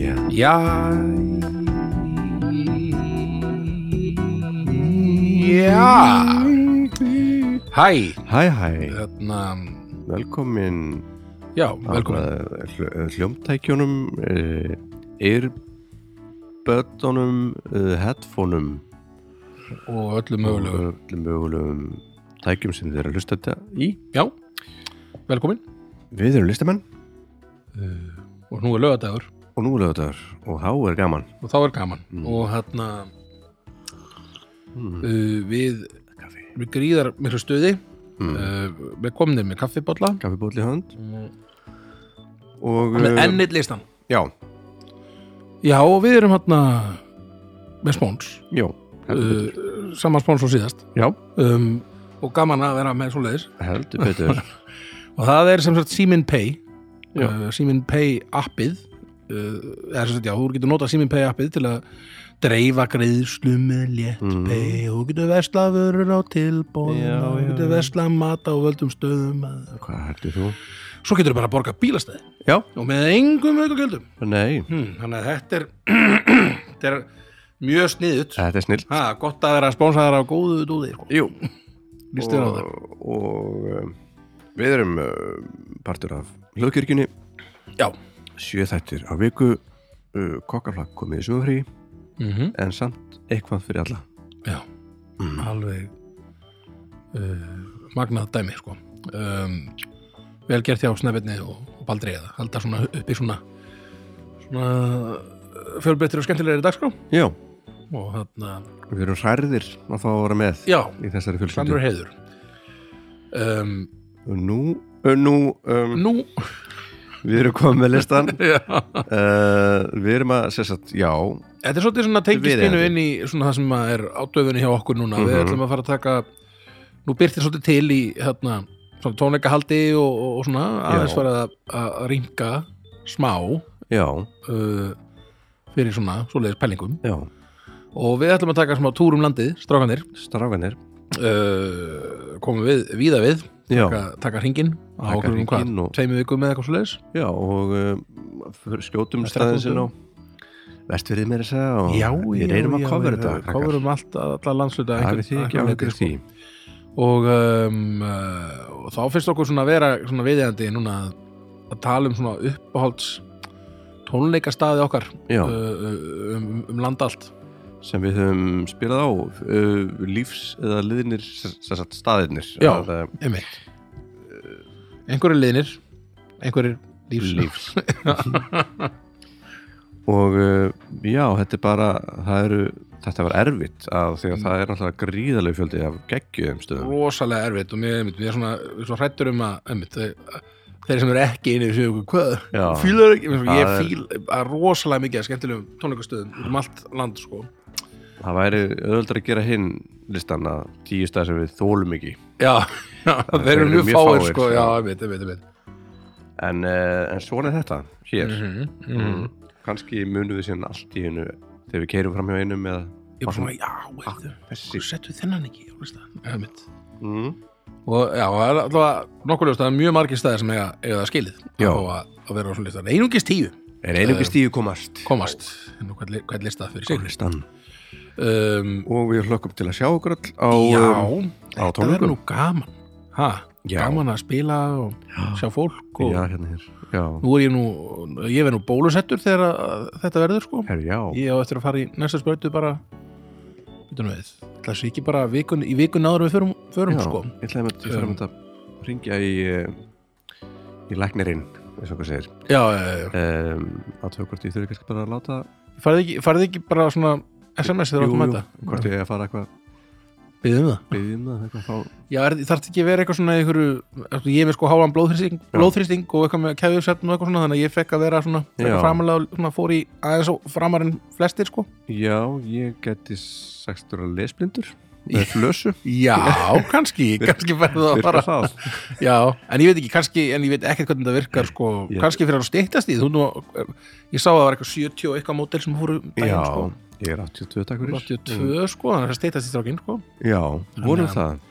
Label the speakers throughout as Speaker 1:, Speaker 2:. Speaker 1: Já Já Hæ
Speaker 2: Hæ, hæ,
Speaker 1: Þarna
Speaker 2: velkomin
Speaker 1: Já, velkomin
Speaker 2: eh, Hljómtækjunum uh, Earbötunum uh, Headphoneum
Speaker 1: Og öllum mögulegu
Speaker 2: og öllum mögulegum tækjum sem þið eru að lusta þetta í
Speaker 1: Já, velkomin
Speaker 2: Við erum listamenn
Speaker 1: Og nú er lögadagur
Speaker 2: og nú er lögadagur og þá er gaman
Speaker 1: Og þá er gaman Og þarna
Speaker 2: mm.
Speaker 1: uh, Við
Speaker 2: Kaffi
Speaker 1: Við gríðar miklu stuði
Speaker 2: mm.
Speaker 1: uh, Við komnir með kaffibólla
Speaker 2: Kaffiból í hönd
Speaker 1: Mm.
Speaker 2: og
Speaker 1: Með
Speaker 2: eh,
Speaker 1: ennit listan
Speaker 2: Já,
Speaker 1: Já, og við erum þarna Með spóns
Speaker 2: já heldur
Speaker 1: uh, Saman spóns og síðast
Speaker 2: betur Já,
Speaker 1: um, Og gaman að vera með svo leiðis
Speaker 2: heldur betur
Speaker 1: og það er sem sagt Simin Pay
Speaker 2: Já.
Speaker 1: uh, Simin Pay appið uh, er sem sagt, já, þú getur notað Simin Pay appið til að dreifa greiðslu með létt
Speaker 2: Mm.
Speaker 1: pay og þú getur vesla vörur á tilbóðum
Speaker 2: Já,
Speaker 1: og þú
Speaker 2: já,
Speaker 1: getur
Speaker 2: já.
Speaker 1: vesla mat á völdum stöðum
Speaker 2: Hvað heldur þú?
Speaker 1: svo getur þú bara að borga bílastæði
Speaker 2: Já,
Speaker 1: og með engum aukagjöldum
Speaker 2: nei,
Speaker 1: hmm, þannig að þetta er þetta er mjög sniðut
Speaker 2: þetta er snill
Speaker 1: ha, gott að vera spónsaðar á góðu dúði sko.
Speaker 2: Jú,
Speaker 1: líst þér á það
Speaker 2: og, og um, við erum uh, partur af hljóðkirkjunni
Speaker 1: já,
Speaker 2: sjö þættir á viku uh, kokkaflag komið í sumafrí
Speaker 1: mm
Speaker 2: en samt eitthvað fyrir alla
Speaker 1: já.
Speaker 2: mm.
Speaker 1: alveg uh, magnað dæmi sko. um, vel gert hjá Snæbjörni og, og Baldri að halda svona upp í svona, svona fjölbreyttir og skemmtilegri dagskrá
Speaker 2: Já,
Speaker 1: og þarna,
Speaker 2: við erum hrærðir að fá að vera með
Speaker 1: já,
Speaker 2: í þessari
Speaker 1: sannur
Speaker 2: fjölskyldu
Speaker 1: heiður um,
Speaker 2: og nú, uh, nú um,
Speaker 1: nú
Speaker 2: við erum komið með listan
Speaker 1: já.
Speaker 2: uh, við erum að sérstætt, já
Speaker 1: þetta er svolítið svona tengistinu
Speaker 2: Viðeigandi.
Speaker 1: inn í svona það sem að er ádöfunni hjá okkur núna við
Speaker 2: Mhm.
Speaker 1: ætlum að fara að taka nú byrtir svolítið til í þarna, svona tónleikahaldi og, og, og svona aðeins farið að, að ringa smá
Speaker 2: já,
Speaker 1: uh, fyrir svona svoleiðis pælingum
Speaker 2: já,
Speaker 1: og við ætlum að taka smá túr um landið, strákanir
Speaker 2: strákanir
Speaker 1: uh, komum við víða við
Speaker 2: já,
Speaker 1: taka, taka hringin á
Speaker 2: Taka
Speaker 1: okkur um hvað,
Speaker 2: hringinn og-
Speaker 1: tveimu vikum eða eitthvað svoleiðis
Speaker 2: já og um, fyrir- skjótum
Speaker 1: Með
Speaker 2: staðin
Speaker 1: þrettán
Speaker 2: sinna og vestfyrir mér að segja og við reynum að kofra þetta krakkar.
Speaker 1: coverum allt, alla landsluta
Speaker 2: hafið þið um- ekki áhyggjur af
Speaker 1: sko.
Speaker 2: því
Speaker 1: og, um, uh, og þá finnst okkur svona að vera svona viðjandi núna að- að tala um svona uppáhalds tónleikastaði okkar
Speaker 2: Já,
Speaker 1: uh, uh, um, um land allt
Speaker 2: sem við höfum spilað á uh, lífs eða liðnir sagt, staðirnir
Speaker 1: Já.
Speaker 2: Að, uh,
Speaker 1: Einmitt. Uh, Einhverjir liðnir, einhverjir lífs.
Speaker 2: lífs og uh, já, þetta er bara það eru, þetta var erfitt að því að það er náttúrulega gríðalegu fjöldi af geggjuðum stöðum
Speaker 1: Rosalega erfitt og mér, einmitt, við erum svona, við erum svona hrættur um að, einmitt, þau- þeir sem eru ekki inni séu okkur,
Speaker 2: Já.
Speaker 1: hvað, fílar ekki, Mér finnst svona, ég
Speaker 2: Það er-
Speaker 1: fíl að rosalega mikið að skemmtilegum tónleikastöðum út um allt land, sko.
Speaker 2: það væri öðvöldar að gera hinn listan að tíu staðir sem við þólum ekki
Speaker 1: Já, já þeir eru mjög fáir, sko, já, einmitt, einmitt, einmitt.
Speaker 2: en, uh, en svona er þetta hér
Speaker 1: Mm
Speaker 2: mhm. kannski munum við síðan allt í einu þegar við keirum fram hjá einum eða
Speaker 1: Ég var svona, "Ah, já, veitum,
Speaker 2: þessi
Speaker 1: hversu settu þennan ekki, á listan? einmitt.
Speaker 2: mm.
Speaker 1: og já, það er alltaf nokkuð ljóst að það er mjög margir staðir sem eiga, eiga það skilið að
Speaker 2: Já.
Speaker 1: fá að, að vera á svona listan, einungis tíu
Speaker 2: er einungis tíu komast
Speaker 1: komast nú hvern, li- hvern listað fyrir sig
Speaker 2: listan
Speaker 1: um,
Speaker 2: og við hlökkum til að sjá okkur all á, um,
Speaker 1: já,
Speaker 2: á
Speaker 1: þetta
Speaker 2: tónleikum.
Speaker 1: verður nú gaman ha,
Speaker 2: Já.
Speaker 1: gaman að spila og sjá fólk og
Speaker 2: já, hérna hér já,
Speaker 1: Sko, nú er ég nú, ég verð nú bólusettur þegar að, þetta verður sko
Speaker 2: herri, já,
Speaker 1: ég á eftir að fara í næsta sprautu bara veitum við, það sé ekki bara vikun, í vikun áður en við förum, förum
Speaker 2: já
Speaker 1: sko
Speaker 2: ég ætlaði með ég
Speaker 1: Um.
Speaker 2: þarf að ringja í eh, í læknirinn, eins og okkur segir
Speaker 1: já, já, já, já.
Speaker 2: um, að þau hvort ég þurfi kannski bara að láta
Speaker 1: Farið, ekki, farið ekki bara svona SMS þegar áttum að
Speaker 2: hvort
Speaker 1: mæta
Speaker 2: ég eigi að fara eitthvað
Speaker 1: byggðum það
Speaker 2: byggðum það, eitthvað þá,
Speaker 1: Já, er, þarf ekki að vera eitthvað svona í einhverju, eftir, ég er með sko háan blóðþrýsting, blóðþrýsting og eitthvað með kefjusefn og eitthvað svona þannig að ég fekk að vera svona
Speaker 2: Já.
Speaker 1: framalega, svona fór í aðeins og framar en flestir sko
Speaker 2: já, ég geti sagt vera lesblindur með flösu,
Speaker 1: Já, kannski, kannski verður það að
Speaker 2: virka
Speaker 1: fara
Speaker 2: það
Speaker 1: Já, en ég veit ekki, kannski, en ég veit ekkert hvernig þetta virkar sko,
Speaker 2: Ég-
Speaker 1: kannski fyrir að stýttast í þú nú, ég sá að það var eitthvað 70 og eitthvað mótel sem fóru um
Speaker 2: já,
Speaker 1: daginn sko
Speaker 2: ég er 82 takkur
Speaker 1: 82 sko, þannig að stýttast í strákinn sko
Speaker 2: já,
Speaker 1: Þannig
Speaker 2: vonum það,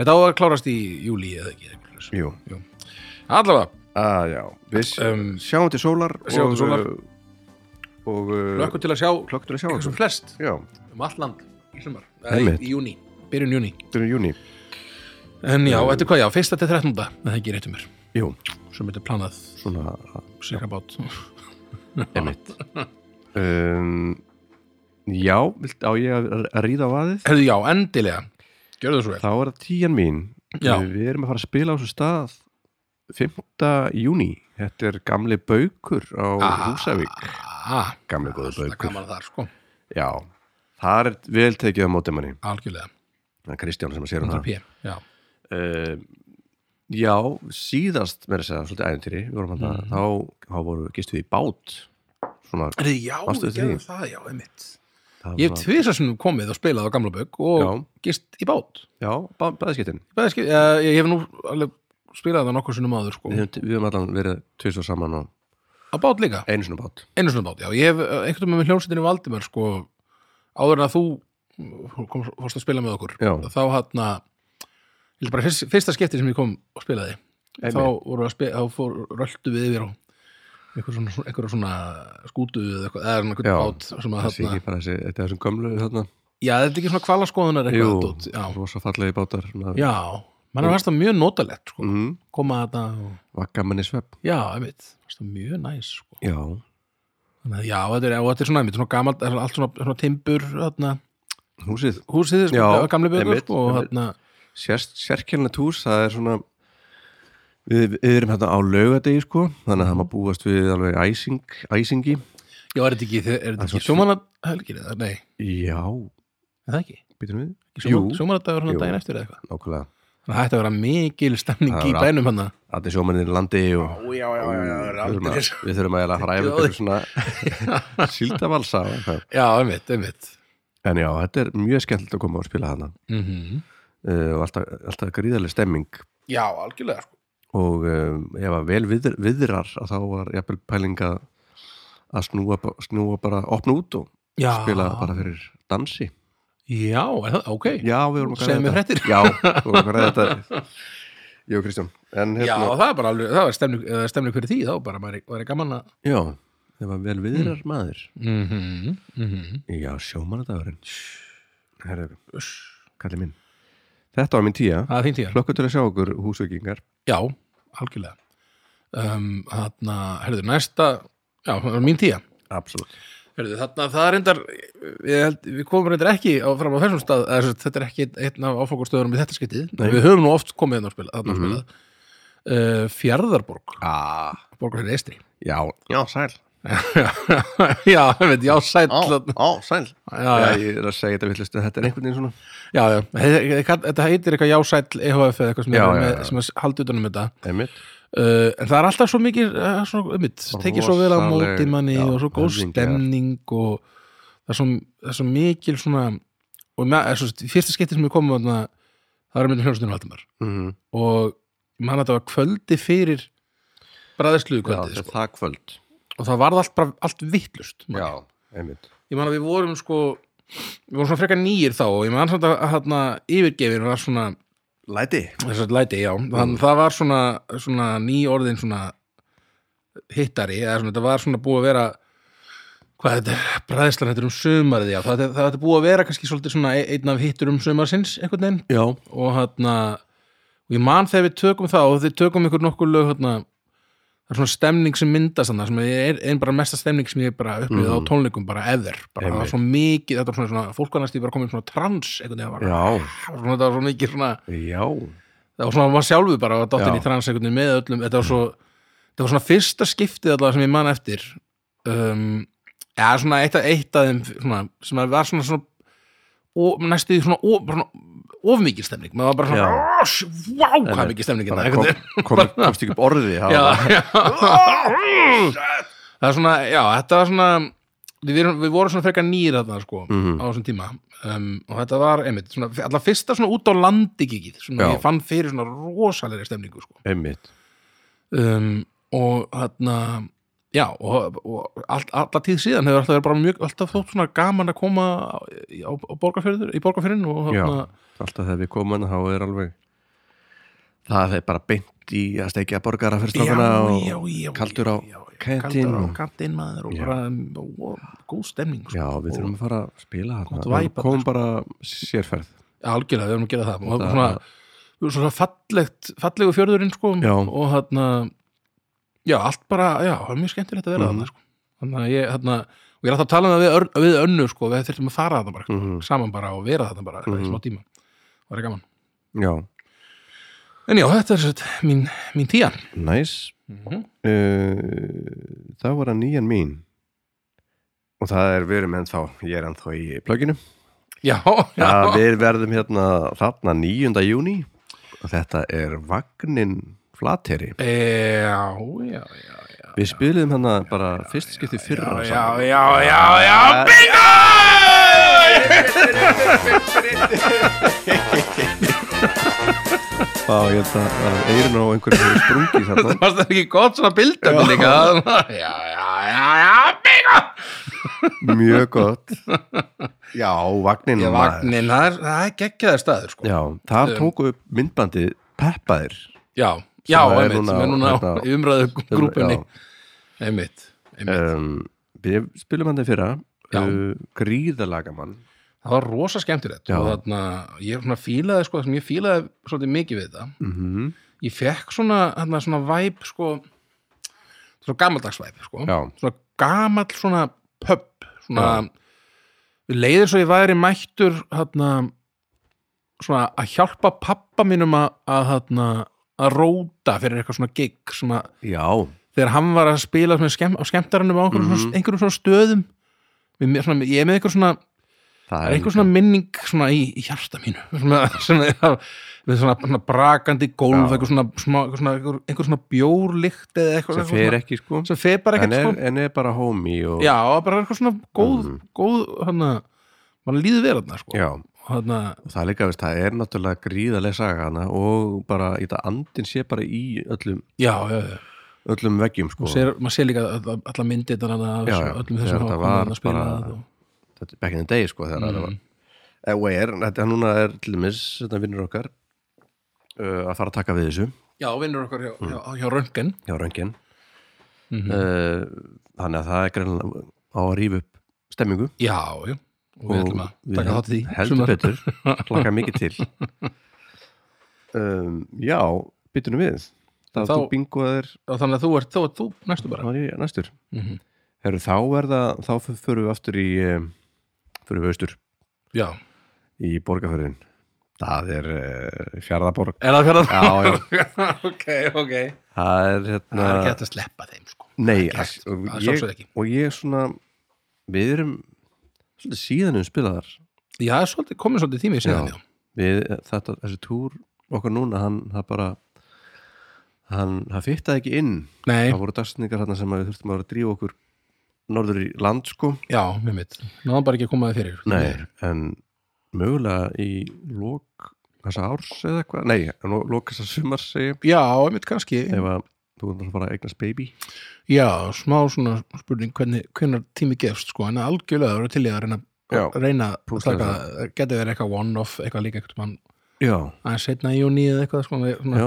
Speaker 1: Þetta á að klárast í júli eða ekki eitthvað svoleiðis.
Speaker 2: jú
Speaker 1: Allavega,
Speaker 2: að já, við
Speaker 1: Um,
Speaker 2: sjáum til sólar
Speaker 1: sjáum til
Speaker 2: og
Speaker 1: sólar.
Speaker 2: uh, og uh,
Speaker 1: Lökkum til að sjá
Speaker 2: klöktur að sjá
Speaker 1: ykkur
Speaker 2: okkur.
Speaker 1: sem flest
Speaker 2: Já,
Speaker 1: um allt land í sumar, eða
Speaker 2: Einmitt.
Speaker 1: í- í júni, byrjun júni
Speaker 2: þetta er í júni
Speaker 1: En já, þetta er hvað já, fyrsta til 13. en það ekki rétt um mér,
Speaker 2: Jú,
Speaker 1: sem þetta er planað
Speaker 2: svona
Speaker 1: sérkabát
Speaker 2: emitt um, Já, vilt á ég að að ríða á vaðið?
Speaker 1: Herðu já, endilega, gjörðu það svo vel
Speaker 2: Þá er það tíjan mín
Speaker 1: Já.
Speaker 2: Við erum að fara að spila á þessu stað 5. júni Þetta er gamli baukur á Húsavík
Speaker 1: ah,
Speaker 2: Gamli góðu
Speaker 1: Það
Speaker 2: baukur
Speaker 1: gaman þar, sko,
Speaker 2: Já, það er vel tekið á móti manni
Speaker 1: algjörlega
Speaker 2: Það er Kristján sem að sér um
Speaker 1: 100
Speaker 2: það
Speaker 1: p, já,
Speaker 2: uh, Já, síðast með þess að segja, svolítið æventýri við vorum þarna,
Speaker 1: Mhm.
Speaker 2: þá, þá voru gistu við í bát Svona,
Speaker 1: Herðu já,
Speaker 2: Varstu
Speaker 1: við
Speaker 2: eftir
Speaker 1: gerðum
Speaker 2: því?
Speaker 1: það, já, einmitt
Speaker 2: það
Speaker 1: Ég hef
Speaker 2: var-
Speaker 1: tvisar sem komið og spilað á gamla bögg og
Speaker 2: Já.
Speaker 1: gist í bát
Speaker 2: Já, bá, bæðiskettin
Speaker 1: Bæði skil, uh, ég hef nú alveg spilað það nokkur sinnum áður sko.
Speaker 2: Við höfum, við höfum allan verið tvisvar saman og
Speaker 1: á bát líka,
Speaker 2: einu sinni á bát.
Speaker 1: einu svona bát já. ég hef eh, einhvern veginn með hljónsettinu Valdimar sko, áður en að þú mm, kom, fórst að spila með okkur
Speaker 2: Já.
Speaker 1: þá hann að bara fyrst, fyrsta skipti sem ég kom og spilaði
Speaker 2: Einmitt.
Speaker 1: þá voru við að spila, þá fór röldu við yfir á einhver svona, einhver svona skútu eða eitthvað, eða einhvern
Speaker 2: Já,
Speaker 1: bát sem að
Speaker 2: Það sé
Speaker 1: þarna,
Speaker 2: ekki bara þessi, þetta er þessum gömlu þarna.
Speaker 1: já þetta er ekki svona kvalaskoðunar eitthvað
Speaker 2: Jú.
Speaker 1: dót, já,
Speaker 2: Rosa fallegi bátar. svona-
Speaker 1: já mann er fast það mjög notalegt sko,
Speaker 2: Mhm.
Speaker 1: koma að þetta og
Speaker 2: Var gaman í svepp.
Speaker 1: Já, einmitt, það er mjög næs sko.
Speaker 2: Já.
Speaker 1: Þannig að já, þetta er, og þetta er svona einmitt, svona gamalt, það er allt svona, svona timbur þarna,
Speaker 2: Húsið.
Speaker 1: húsið, sko,
Speaker 2: Já,
Speaker 1: gamli byggur
Speaker 2: einmitt,
Speaker 1: sko, og
Speaker 2: einmitt.
Speaker 1: þarna,
Speaker 2: Sérst, sérkjælnett hús, það er svona, við, við erum hérna á laugadegi sko, þannig að það maður búast við alveg æsing, æsingi.
Speaker 1: já, er þetta ekki, er þetta
Speaker 2: Það er
Speaker 1: ekki sjómanahelgir eða, nei,
Speaker 2: Já,
Speaker 1: er það ekki?
Speaker 2: býtum við?
Speaker 1: ekki Sjómanadagur
Speaker 2: Jú.
Speaker 1: hann daginn eftir eða eitthvað
Speaker 2: nákvæmlega.
Speaker 1: Þannig að hætti að vera mikil stemning
Speaker 2: Það
Speaker 1: í
Speaker 2: var allt-
Speaker 1: bænum hann Já,
Speaker 2: Allir sjómennir í landi og
Speaker 1: já, já,
Speaker 2: við þurfum að, við þurfum að eiginlega hræfa
Speaker 1: Ekki
Speaker 2: ykkur svona síldavalsa. og eitthvað.
Speaker 1: Já, einmitt, einmitt
Speaker 2: En já, þetta er mjög skemmtilegt að koma og spila hana.
Speaker 1: Mhm.
Speaker 2: uh, og alltaf, alltaf gríðarlega stemming
Speaker 1: Já, algjörlega, sko
Speaker 2: og um, ef að vel viðr, viðrar að þá var jafnvel pælinga að snúa, ba- snúa bara opna út og
Speaker 1: Já,
Speaker 2: spila bara fyrir dansi
Speaker 1: já, er það, ok
Speaker 2: Já, við vorum
Speaker 1: Segðu mér fréttir.
Speaker 2: Já, við vorum að ræða þetta Jó, Kristján en,
Speaker 1: Já,
Speaker 2: hérna,
Speaker 1: það er bara alveg, það var stemning, eða stemning fyrir því þá bara, maður er- væri gaman að
Speaker 2: já, ef að vel viðrar maður
Speaker 1: mm -hmm. Mm -hmm.
Speaker 2: Já, sjómanadagurinn Herðu, kallið minn Þetta var minn tíja
Speaker 1: Það er þín tíðar
Speaker 2: Hlökkur til að sjá okkur húsveikingar
Speaker 1: Já, algjörlega um, Þarna, herðu, næsta Já, það var mín tíja
Speaker 2: Absolutt
Speaker 1: herðu, Þarna, það er reyndar ég held, Við komum reyndar ekki á, fram á þessum stað eða, sem sagt, Þetta er ekki einn af áfangastöðunum í þetta skyttið
Speaker 2: Nei. Mhm.
Speaker 1: Við höfum nú oft komið þarna að spila, þarna mm spila. Uh, Fjarðarborg
Speaker 2: ah,
Speaker 1: Borgarhverju Eistri
Speaker 2: Já, já, sæl
Speaker 1: Já, ég veit, já, sæll
Speaker 2: Á,
Speaker 1: þarna.
Speaker 2: á, sæl
Speaker 1: Já,
Speaker 2: Já,
Speaker 1: já,
Speaker 2: ég er að segja þetta villust Þetta er einhvern veginn svona
Speaker 1: já, já. He- he- he- Þetta heitir eitthvað já, sæll EHF eða eitthvað sem,
Speaker 2: Já,
Speaker 1: já,
Speaker 2: já,
Speaker 1: með,
Speaker 2: já.
Speaker 1: sem að haldi utanum um þetta
Speaker 2: Einmitt
Speaker 1: uh, en það er alltaf svo mikið uh, svona, einmitt, tekið svo vel á
Speaker 2: Rosaleg-
Speaker 1: móti manni
Speaker 2: já,
Speaker 1: og svo góð
Speaker 2: höfðingjar.
Speaker 1: stemning og það er svo, það er svo mikil svona og með, er, svo, fyrsta skipti sem ég komum þarna, það er myndin hljóðstunum Valdimar
Speaker 2: mm.
Speaker 1: og ég man að þetta var kvöldi fyrir bræðisluðu
Speaker 2: Já,
Speaker 1: kvöldi
Speaker 2: þetta er
Speaker 1: sko.
Speaker 2: það kvöld
Speaker 1: og það varð allt, bara, allt vittlust
Speaker 2: Já, einmitt
Speaker 1: ég man að við vorum sko við vorum svona frekar nýjir þá og ég man samt að hérna yfirgefin var svona
Speaker 2: Læti
Speaker 1: þess að læti, já þannig að það var svona, svona ný orðin svona hittari eða svona, þetta var svona búið að vera hvað þetta er, bræðslan þetta er um sumarið já, það, það þetta er búið að vera kannski svolítið svona e- einn af hittur um sumarsins einhvern veginn
Speaker 2: Já,
Speaker 1: og hann og ég man þegar við tökum það og við tökum ykkur nokkur lög hérna, það er svona stemning sem myndast þannig sem er einn bara mesta stemning sem ég bara upplýði á tónleikum bara eður bara
Speaker 2: Mm.
Speaker 1: það var
Speaker 2: Einmitt.
Speaker 1: svo mikið, þetta var svona, svona fólk var næst í bara komið svona trans einhvern veginn, það var,
Speaker 2: já,
Speaker 1: það var svona, þetta var svo mikið svona
Speaker 2: já
Speaker 1: það var svona, maður sjálfu bara að dottin
Speaker 2: Já.
Speaker 1: í trans einhvern veginn með öllum, þetta var svo þetta var svona fyrsta skiptið allavega sem ég man eftir um, ja, svona eitt, eitt af þeim svona, sem að var svona, svona ó, næstu því svona, ó, bara svona of mikið stemning, maður var bara svona
Speaker 2: Já.
Speaker 1: "Oss, vá, hvað
Speaker 2: Einmitt.
Speaker 1: er mikið stemning
Speaker 2: Bara
Speaker 1: þetta,
Speaker 2: kom,
Speaker 1: einhvern veginn.
Speaker 2: kom, komst ekki upp orði
Speaker 1: Já,
Speaker 2: Já,
Speaker 1: já. það er svona, já, þetta var svona við, erum, við vorum svona frekar nýr þarna sko,
Speaker 2: Mhm.
Speaker 1: á þessum tíma um, og þetta var, einmitt, svona, allavega fyrsta svona út á landi kikið, svona
Speaker 2: Já.
Speaker 1: ég fann fyrir svona rosalegri stemningu, sko
Speaker 2: einmitt
Speaker 1: um, og þarna já, og, og all, alla tíð síðan hefur alltaf verið bara mjög, alltaf þótt svona gaman að koma á, á, á borgarfjörður, í borgarfjörðin og
Speaker 2: Já,
Speaker 1: þarna,
Speaker 2: alltaf þegar við komum hana þá er alveg Það er bara beint í að steikja borgara fyrir strákana
Speaker 1: já,
Speaker 2: og
Speaker 1: já, já,
Speaker 2: kaldur á
Speaker 1: já, já,
Speaker 2: kantinn
Speaker 1: kaldara og
Speaker 2: og-
Speaker 1: kantinn maður og
Speaker 2: Já.
Speaker 1: bara um, og, góð stemning sko.
Speaker 2: Já, við þurfum að fara að spila
Speaker 1: Gott sko.
Speaker 2: hérna
Speaker 1: væp
Speaker 2: Við komum bara sérferð
Speaker 1: Já, algjörlega, við erum að gera það og
Speaker 2: Þetta-
Speaker 1: svona, svona fallegt, fallegu fjörðurinn sko,
Speaker 2: Já.
Speaker 1: og þarna já, allt bara, já, það er mjög skemmtilegt að vera
Speaker 2: Mhm.
Speaker 1: þarna sko. þannig að ég, þarna og ég er alltaf að tala um það við, ör- við önnu sko, við þurfum að fara þarna bara,
Speaker 2: mm
Speaker 1: saman bara og vera þarna bara
Speaker 2: Mhm.
Speaker 1: í smá tíma, það var gaman
Speaker 2: Já,
Speaker 1: en já, þetta er sett, mín, mín tían
Speaker 2: næs Mhm. uh, Það var að nýjan mín Og það er, við erum ennþá Ég er ennþá í plögginu
Speaker 1: já, já,
Speaker 2: Já, við verðum hérna þarna 9. júni og þetta er Vagnin Flateri.
Speaker 1: e, já, já, já
Speaker 2: Við spilum hérna bara fyrst skipti fyrra.
Speaker 1: já,
Speaker 2: saman.
Speaker 1: já, já, já, bingo
Speaker 2: Já, ég held að- að eirun á einhverju hefur sprungið þarna.
Speaker 1: Varst það ekki gott svona bildum líka? Já, já, já, já, bingo!
Speaker 2: Mjög gott. Já, Vagnin.
Speaker 1: Ég
Speaker 2: maður.
Speaker 1: vagnin, það er, það er geggjaðar staður sko.
Speaker 2: Já, þar tóku upp myndbandið Peppaðir.
Speaker 1: já, já
Speaker 2: Sem er
Speaker 1: einmitt,
Speaker 2: núna-
Speaker 1: sem er núna á
Speaker 2: þetta-
Speaker 1: umræðu grúpunni
Speaker 2: já.
Speaker 1: einmitt, einmitt.
Speaker 2: Um, við spilum hann þeir fyrra.
Speaker 1: Já.
Speaker 2: Uh, gríðalagamann.
Speaker 1: það var rosa skemmtilegt
Speaker 2: Já.
Speaker 1: og þarna, ég er svona fílaði sko, það sem ég fílaði svolítið mikið við þetta
Speaker 2: Mm -hmm.
Speaker 1: ég fekk svona, þarna, svona væp sko, svona gamaldags væp sko.
Speaker 2: Já.
Speaker 1: svona gamall svona pub svona, við leiðir svo ég væri mættur þarna, svona að hjálpa pappa mínum að, að, þarna, að róta fyrir eitthvað svona gig svona
Speaker 2: Já,
Speaker 1: þegar hann var að spila með skemm, á skemmtarannum á einhverjum,
Speaker 2: Mhm.
Speaker 1: svona, einhverjum svona stöðum Við- mér, svona, ég er með einhver svona,
Speaker 2: það
Speaker 1: einhver svona minning svona í, í hjarta mínu svona, svona, við svona, svona brakandi gólf
Speaker 2: Já.
Speaker 1: einhver svona, smá, einhver svona, einhver, einhver svona bjórlykt eða eitthvað
Speaker 2: sem
Speaker 1: eitthvað
Speaker 2: fer
Speaker 1: svona-
Speaker 2: ekki sko.
Speaker 1: sem fer bara
Speaker 2: En
Speaker 1: ekkert
Speaker 2: er,
Speaker 1: sko.
Speaker 2: en er bara homie og...
Speaker 1: já, bara eitthvað svona góð,
Speaker 2: Mhm.
Speaker 1: góð hana, mann líður verðna sko.
Speaker 2: Já.
Speaker 1: hana,
Speaker 2: og það er líka, veist, það er náttúrulega gríðarlega saga hana og bara, ég það andin sé bara í öllum,
Speaker 1: já, já, já.
Speaker 2: öllum veggjum, sko.
Speaker 1: Sér, maður sér líka alla, alla myndið
Speaker 2: Já, já. Þegar
Speaker 1: öllum þessum
Speaker 2: þetta
Speaker 1: hafa
Speaker 2: var
Speaker 1: komið að spila
Speaker 2: bara-
Speaker 1: þetta og-
Speaker 2: Þetta er back in the day, sko, þegar það
Speaker 1: Mhm.
Speaker 2: var. Eh, Og er, þetta núna er til dæmis, þetta vinnur okkar, uh, að fara að taka við þessu
Speaker 1: já, vinnur okkar hjá,
Speaker 2: Mm.
Speaker 1: hjá, hjá röngan
Speaker 2: hjá röngin.
Speaker 1: mm -hmm.
Speaker 2: Uh, þannig að það er greinlega á að rífa upp stemmingu.
Speaker 1: Já, já, og við ætlum að taka þátt í því
Speaker 2: Heldur
Speaker 1: sumar.
Speaker 2: betur, klakka mikið til. Um, já, byttunum við. Það
Speaker 1: Þá-
Speaker 2: þú bingoðir,
Speaker 1: og þannig að þú ert, þú, þú næstu bara
Speaker 2: það var ég næstur.
Speaker 1: mm
Speaker 2: Herru, þá er það, þá f- förum við aftur í, em, förum við austur
Speaker 1: Já,
Speaker 2: í borgarferðin. Það er uh, fjaraðaborg.
Speaker 1: er það fjörðan?
Speaker 2: Já, já.
Speaker 1: ok, ok
Speaker 2: Það er
Speaker 1: Það
Speaker 2: hérna...
Speaker 1: er ekki hægt að sleppa þeim, sko
Speaker 2: Nei,
Speaker 1: ekki
Speaker 2: allt-
Speaker 1: hægt.
Speaker 2: og
Speaker 1: Það er
Speaker 2: ég,
Speaker 1: sjálfsögðu ekki.
Speaker 2: og ég svona, við erum svolítið síðan um spilaðar.
Speaker 1: Já, það er svolítið, komin svolítið tími síðan, já,
Speaker 2: Við, eh, þetta, þessi túr okkar núna, hann, það bara, hann, það fyttaði ekki inn.
Speaker 1: Nei,
Speaker 2: Það voru dagstningar hérna sem að við þurftum að vera að drífa okkur norður í land, sko.
Speaker 1: já, með mitt Náðan bara ekki að koma þið fyrir
Speaker 2: Nei, en mögulega í lók þessa árs eða eitthvað, nei, en lók þessa sumar segi, ég,
Speaker 1: Já, með mitt kannski
Speaker 2: ef að þú er bara að eignast baby
Speaker 1: Já, smá svona spurning hvernig, hvernig tími gefst, sko En algjörlega það voru til ég að reyna
Speaker 2: Já.
Speaker 1: reyna að
Speaker 2: Púsla
Speaker 1: taka, getið verið eitthvað one-off eitthvað líka eitthvað mann
Speaker 2: Já,
Speaker 1: aðeins setna í júni eða eitthvað sko, við-
Speaker 2: já,
Speaker 1: svona,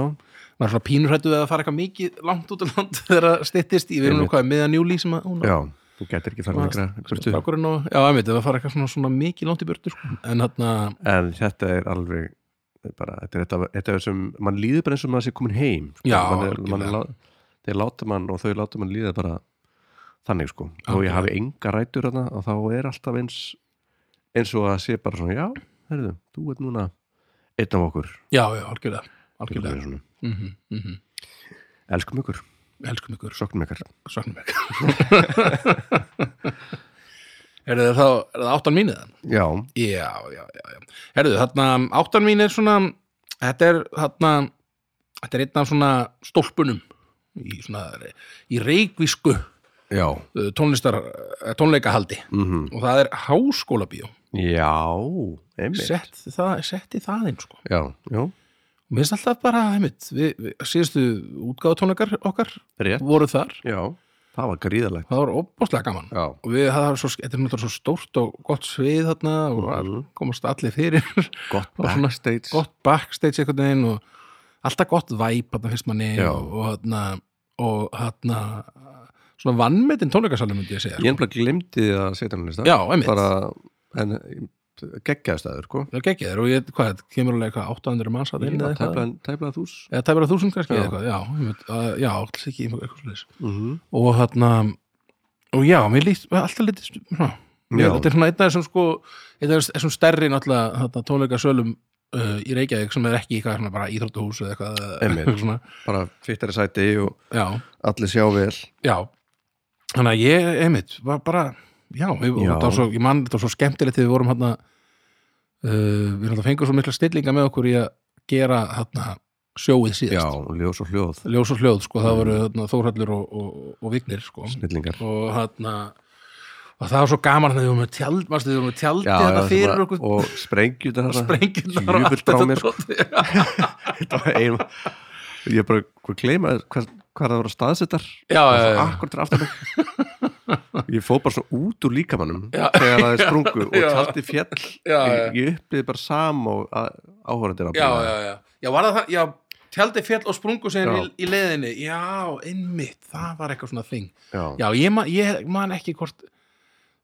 Speaker 1: maður er svona pínurrættu við að fara eitthvað mikið langt út á land þegar það styttist í við erum nú
Speaker 2: Einmitt.
Speaker 1: hvað miðan júli sem að hún
Speaker 2: já þú getur ekki farið lengra burtu.
Speaker 1: Bakurinn og, já, ég veit, það fara eitthvað svona, svona mikið langt í burtu, sko. en þarna
Speaker 2: en þetta er alveg bara, þetta er þetta, þetta er sem, mann líður bara eins og maður sé komin heim sko.
Speaker 1: Já,
Speaker 2: man er, man er,
Speaker 1: algjörlega.
Speaker 2: lá- þeir láta mann og þau láta mann líða bara þannig sko, og
Speaker 1: Algjörlega.
Speaker 2: ég hafi enga rætur þarna og þá er alltaf eins eins og að sé bara svona, já, herðu þú ert núna einn af okkur
Speaker 1: já, já, algjörlega, algjörlega
Speaker 2: Svona.
Speaker 1: mm -hmm, mm -hmm.
Speaker 2: elskum ykkur,
Speaker 1: elskum ykkur,
Speaker 2: soknum ykkur
Speaker 1: svaknum ykkur Herðu þið þá, er það áttan mínu það?
Speaker 2: já,
Speaker 1: Já, já, já, já Herðu, þarna, áttan mín er svona þetta er, þarna þetta er einn af svona stólpunum í svona, í reikvisku
Speaker 2: já,
Speaker 1: uh, tónlistar, eh, tónleikahaldi
Speaker 2: mm
Speaker 1: og það er háskólabíó
Speaker 2: já einmitt
Speaker 1: Sett, það, setti það inn, sko
Speaker 2: já, já,
Speaker 1: Og Mér finnst alltaf bara, heimitt, við, við síðustu útgáðutónleikar okkar
Speaker 2: rétt
Speaker 1: voru þar,
Speaker 2: já, það var gríðalegt
Speaker 1: það var opbóðslega gaman.
Speaker 2: já,
Speaker 1: Og við, það var svo, þetta er náttúrulega svo stórt og gott svið þarna og mm
Speaker 2: Mhm.
Speaker 1: komast allir fyrir,
Speaker 2: gott
Speaker 1: var svona
Speaker 2: backstage
Speaker 1: gott backstage einhvern veginn og alltaf gott væp þarna fyrst manni
Speaker 2: Já.
Speaker 1: og, og þarna, og þarna, svona vannmetinn tónleikasalum myndi ég segja sko.
Speaker 2: Ég ennbla glemdi að setja hann á lista
Speaker 1: Já, einmitt.
Speaker 2: Bara, en geggjaði staður, sko
Speaker 1: Já, geggjaður og ég, hvað, þetta kemur alveg eitthvað 800 manns að inn eða eitthvað
Speaker 2: Tæpla- Tæpla þús
Speaker 1: eða tæpar að þúsund kannski
Speaker 2: Já.
Speaker 1: eða eitthvað, já, ég veit, að, já, alls ekki eitthvað slis
Speaker 2: mm -hmm.
Speaker 1: og þarna, og já, mér líst alltaf litið, svona, mér,
Speaker 2: Já.
Speaker 1: þetta er svona einn af þessum sko, einn af þessum stærri náttúrulega þarna, tónleikasölum uh, í Reykjavík sem er ekki eitthvað svona bara íþróttahús eða eitthvað,
Speaker 2: Einmitt.
Speaker 1: eitthvað svona,
Speaker 2: Bara fyttari sæti og
Speaker 1: já,
Speaker 2: allir sjá vel
Speaker 1: já þannig að ég, einmitt, var bara já, við, og
Speaker 2: Já.
Speaker 1: þetta var svo, ég man þetta var svo skemmtilegt þegar við vorum hann uh, við erum fengum svo mikla stillinga með okkur í að gera hann sjóið síðast
Speaker 2: Já, ljós og hljóð
Speaker 1: ljós og hljóð sko, það voru þarna, Þórhallur og, og, og Vignir sko.
Speaker 2: Snillingar
Speaker 1: og þarna og það var svo gaman þegar við vorum með tjald varstu, við vorum með tjaldi
Speaker 2: Já,
Speaker 1: þetta
Speaker 2: já,
Speaker 1: fyrir
Speaker 2: svona-
Speaker 1: okkur
Speaker 2: og sprengjur þetta
Speaker 1: sprengjurnar og allt
Speaker 2: Júfull
Speaker 1: þetta
Speaker 2: mér sko.
Speaker 1: dót. Já,
Speaker 2: Þetta var ein- ég bara hvað gleyma hvað, hvað það voru staðsettar
Speaker 1: Já, já, já.
Speaker 2: akkur til aftan mig ég fóð bara svo út úr líkamannum
Speaker 1: Já.
Speaker 2: þegar það er sprungu og
Speaker 1: Já.
Speaker 2: tjaldi fjall
Speaker 1: Já, já.
Speaker 2: ég, ég upplýði bara sam og áhórandir
Speaker 1: já, já, já, já, var það það já, tjaldi fjall og sprungu sér í,
Speaker 2: Já.
Speaker 1: í leiðinni já, einmitt, það var eitthvað svona þing
Speaker 2: já.
Speaker 1: já, ég man, ég man ekki hvort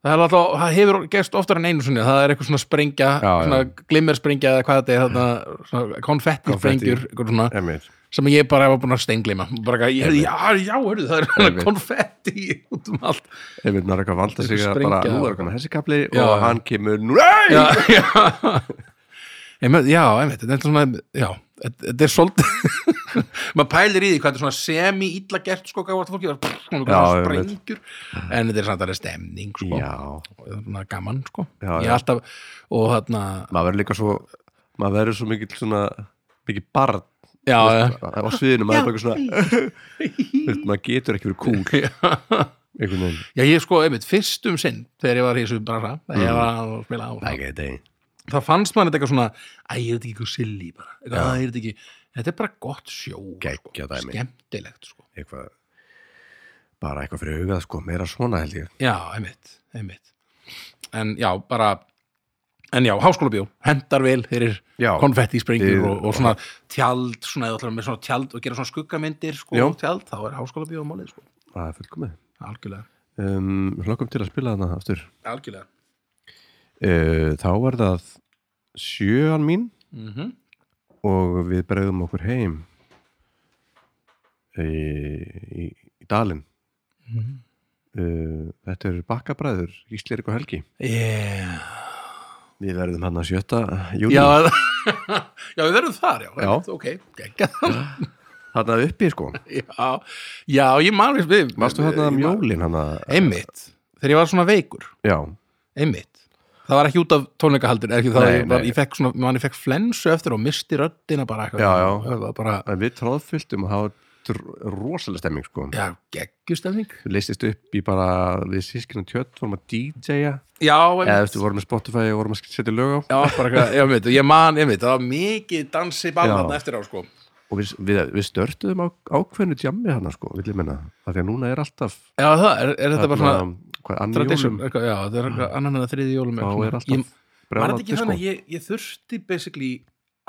Speaker 1: það er alltaf, það hefur gerst oftar en einu sinni, það er eitthvað svona sprengja
Speaker 2: Já, já.
Speaker 1: svona glimmerspringja eða hvað þetta er þarna, svona konfetti sprengjur svona,
Speaker 2: Einmitt.
Speaker 1: sem ég bara var búin að steinglima bara ekki, ég, já, já, hörðu, það er
Speaker 2: Einmitt.
Speaker 1: konfetti út um allt
Speaker 2: Einmitt, maður er eitthvað vant að sig að
Speaker 1: Sprengja.
Speaker 2: bara, nú er eitthvað hessi kapli
Speaker 1: Já,
Speaker 2: og
Speaker 1: já.
Speaker 2: hann kemur, nei!
Speaker 1: já, já einmitt, já, einmitt, þetta er svona já, þetta- þetta er svolítið maður pælir í því hvað þetta er svona semi-illa gert sko, hvað fólki var prr, svona
Speaker 2: Já, einmitt.
Speaker 1: sprengjur en þetta er samt að það er stemning sko,
Speaker 2: já.
Speaker 1: og það er svona gaman sko
Speaker 2: Já,
Speaker 1: ég
Speaker 2: já.
Speaker 1: alltaf, og þarna
Speaker 2: maður verður líka svo maður verður svo mikill svona mikill barn
Speaker 1: já, já,
Speaker 2: á sviðinu maður er bara eitthvað svona Þú veist, maður getur ekki verið kúl einhvern veginn
Speaker 1: já, ég sko, einmitt, fyrst um sinn þegar ég var í þessu bransa þegar
Speaker 2: Mm.
Speaker 1: ég var að spila á það fannst maður þetta eitthvað svona æ, er þetta ekki eitthvað silly bara eitthvað, æ, er þetta ekki, þetta er bara gott sjó sko,
Speaker 2: Geggjað dæmi.
Speaker 1: skemmtilegt sko
Speaker 2: eitthvað bara eitthvað fyrir hugað sko, meira svona held ég
Speaker 1: Já, einmitt, einmitt. En já, bara en já, háskólabjó, hendar vel fyrir
Speaker 2: Já.
Speaker 1: konfetti
Speaker 2: Þið-
Speaker 1: og, og svona tjald, svona eða allar með svona tjald og gera svona skuggamyndir, sko,
Speaker 2: Já.
Speaker 1: tjald þá er háskólabjó málið, sko,
Speaker 2: það er fullkomið
Speaker 1: algjörlega
Speaker 2: um, hlokkum til að spila þarna aftur
Speaker 1: algjörlega,
Speaker 2: uh, þá var það sjöan mín
Speaker 1: mhm
Speaker 2: og við bregðum okkur heim í, í, í dalinn
Speaker 1: Mhm.
Speaker 2: uh, þetta eru bakkabræður Ísli Erik og Helgi
Speaker 1: yeah.
Speaker 2: við verðum hann að sjötta júni
Speaker 1: Já, já, við verðum þar, já,
Speaker 2: Já.
Speaker 1: ok, geggjað.
Speaker 2: þarna uppi sko
Speaker 1: já, já, ég man við- við
Speaker 2: varstu þarna um
Speaker 1: ég man-
Speaker 2: jólin hann að
Speaker 1: Einmitt, þegar ég var svona veikur
Speaker 2: já,
Speaker 1: einmitt það var ekki út af tónleikahaldin ekki, það,
Speaker 2: Nei,
Speaker 1: ég, var,
Speaker 2: nei.
Speaker 1: ég fekk svona, man, ég fekk flensu eftir og misti röddina bara eitthvað
Speaker 2: Já, já.
Speaker 1: Það var bara,
Speaker 2: en við tróðfylltum að hafa dr- rosalega stemming sko
Speaker 1: já, geggjustemning
Speaker 2: við leistist upp í bara við sískinu tjött vorum að DJ-a
Speaker 1: já,
Speaker 2: eða
Speaker 1: einmitt
Speaker 2: eftir vorum með Spotify og vorum að setja lög á
Speaker 1: já, bara eitthvað, já, einmitt, ég man, einmitt það var mikið dansi
Speaker 2: Já.
Speaker 1: ballan eftir á sko já,
Speaker 2: og við, við, við störtuðum á, ákveðnu djammi hann sko, vil ég menna af því að núna er alltaf
Speaker 1: það, er, er þetta bara svona
Speaker 2: hvað, annar
Speaker 1: tradition,
Speaker 2: jólum
Speaker 1: eitthvað, já, það er eitthvað annan en að þriði jólum
Speaker 2: þá
Speaker 1: eitthvað
Speaker 2: er
Speaker 1: svona.
Speaker 2: alltaf sko.
Speaker 1: ég, var
Speaker 2: brjálað
Speaker 1: þetta ekki
Speaker 2: diskó.
Speaker 1: þannig, að ég, ég þurfti basically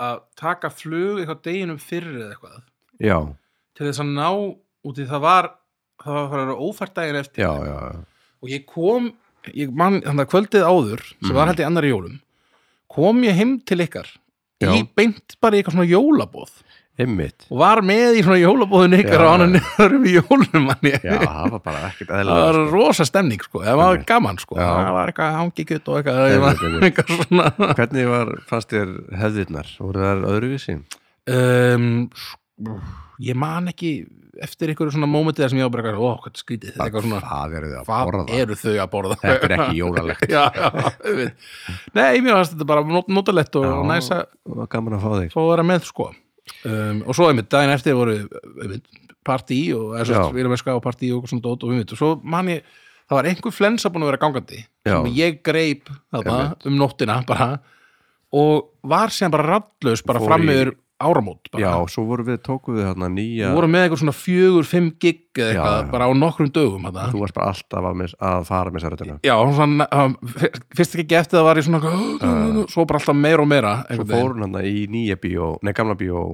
Speaker 1: að taka flug eitthvað deginum fyrir eða eitthvað
Speaker 2: já,
Speaker 1: til þess að ná, út í það var það var að fara að vera ófært daginn eftir
Speaker 2: já, já, já.
Speaker 1: og ég kom ég man, þannig að kvöldið áður
Speaker 2: Mhm.
Speaker 1: sem var held í annari jólum kom ég heim til ykkar
Speaker 2: Já.
Speaker 1: ég beint bara í eitthvað svona jólabóð
Speaker 2: einmitt
Speaker 1: og var með í svona jólabóðun
Speaker 2: Já,
Speaker 1: ykkar og annan
Speaker 2: já.
Speaker 1: öðrum í jólum mann ég
Speaker 2: já, það var bara ekkert
Speaker 1: það
Speaker 2: eðlilega
Speaker 1: var rosa stemning sko, það var
Speaker 2: Einmitt.
Speaker 1: gaman sko
Speaker 2: Já.
Speaker 1: það var eitthvað hangi kjött og eitthvað það
Speaker 2: Einmitt,
Speaker 1: var
Speaker 2: einmitt.
Speaker 1: eitthvað svona
Speaker 2: Hvernig var fast þér hefðirnar? Voru þær öðruvísi?
Speaker 1: um, sko, ég man ekki eftir einhverju svona mómentið þar sem ég á bara eitthvað, ó, hvað skrítið þetta er eitthvað svona
Speaker 2: Hvað eru þau að
Speaker 1: hvað
Speaker 2: borða?
Speaker 1: eru þau að borða
Speaker 2: Þetta er ekki jólalegt.
Speaker 1: já, já, auðvitað. nei, mér fannst þetta bara not- notalegt og
Speaker 2: Já,
Speaker 1: já. næs að
Speaker 2: það var gaman að fá þig.
Speaker 1: fá að vera með sko um, og svo einmitt, daginn eftir voru einmitt, partí og
Speaker 2: Já.
Speaker 1: vilamerska og partí og svona dót og einmitt og svo man ég, það var einhver flensa búin að vera gangandi
Speaker 2: Já.
Speaker 1: sem ég greip þarna,
Speaker 2: Einmitt.
Speaker 1: um nóttina bara og var síðan bara rattlaus bara
Speaker 2: Fór
Speaker 1: fram
Speaker 2: í-
Speaker 1: meður áramót
Speaker 2: Já,
Speaker 1: bara.
Speaker 2: svo voru við, tókum við þarna nýja,
Speaker 1: voru með eitthvað svona fjögur, fimm gig
Speaker 2: Já,
Speaker 1: eða eitthvað,
Speaker 2: já.
Speaker 1: bara á nokkrum dögum þarna.
Speaker 2: þú varst bara alltaf að, mis, að fara með séröldina.
Speaker 1: Já, hún svona, um, fyr- fyrst ekki eftir það var ég svona uh, svo bara alltaf meira og meira
Speaker 2: Svo
Speaker 1: einhvern veginn.
Speaker 2: fór hún þarna í nýja bíó, nei, gamla bíó,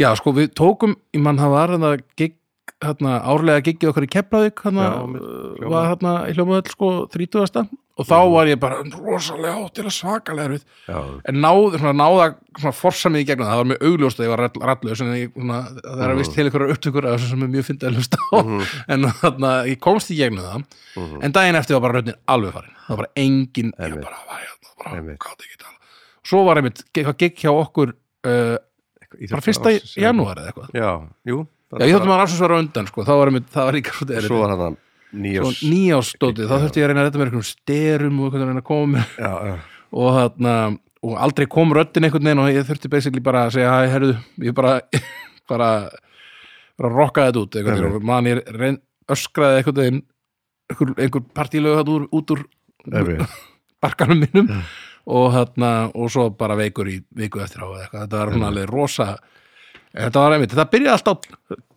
Speaker 1: Já, sko, við tókum, ég mann það var en það gig hérna, árlega giggið okkar í Keflavík hérna,
Speaker 2: Já, mitt,
Speaker 1: uh,
Speaker 2: hljómað.
Speaker 1: var hérna í hljómaðall sko 30. og þá var ég bara rosalega áttilega svakalega erfið
Speaker 2: já,
Speaker 1: en náð, svona, náða svona forsamið í gegnum það, það var mjög augljóst að ég var rall- rallus en ég, svona, það er að vist til einhverjar upptökur af þessu sem er mjög fyndið að hlusta
Speaker 2: Mhm.
Speaker 1: á en þarna, ég komst í gegnum það en daginn eftir var bara röddinn alveg farin það var bara engin, ég
Speaker 2: Einmitt.
Speaker 1: bara var ég bara,
Speaker 2: Einmitt.
Speaker 1: gátt ekki tala svo var einmitt, það gikk hjá okkur uh, bara fyrsta í janúar eða eitthvað
Speaker 2: já, jú
Speaker 1: já, ég þóttum að rannsóðs vera á undan, sko, þá var einmitt það var líka svo erið,
Speaker 2: svo
Speaker 1: svo,
Speaker 2: var hann nýjós
Speaker 1: nýjástótið, þá þurfti ég að reyna að redda mér einhverjum styrum og einhvern veginn að koma mér
Speaker 2: já, já,
Speaker 1: og þarna og aldrei kom röddin einhvern veginn og ég þurfti basically bara að segja, hæ, herðu, ég bara bara, bara rokkaði þetta út einhvern veginn, og man ég reyn, öskraði einhvern veginn einhver, einhver partílög þarna úr, út úr
Speaker 2: einmitt,
Speaker 1: barkanum mínum og þarna, og svo bara veikur í viku eftir á eða eitthvað, þetta var hún alveg rosa þetta var einmitt, þetta byrjaði allt á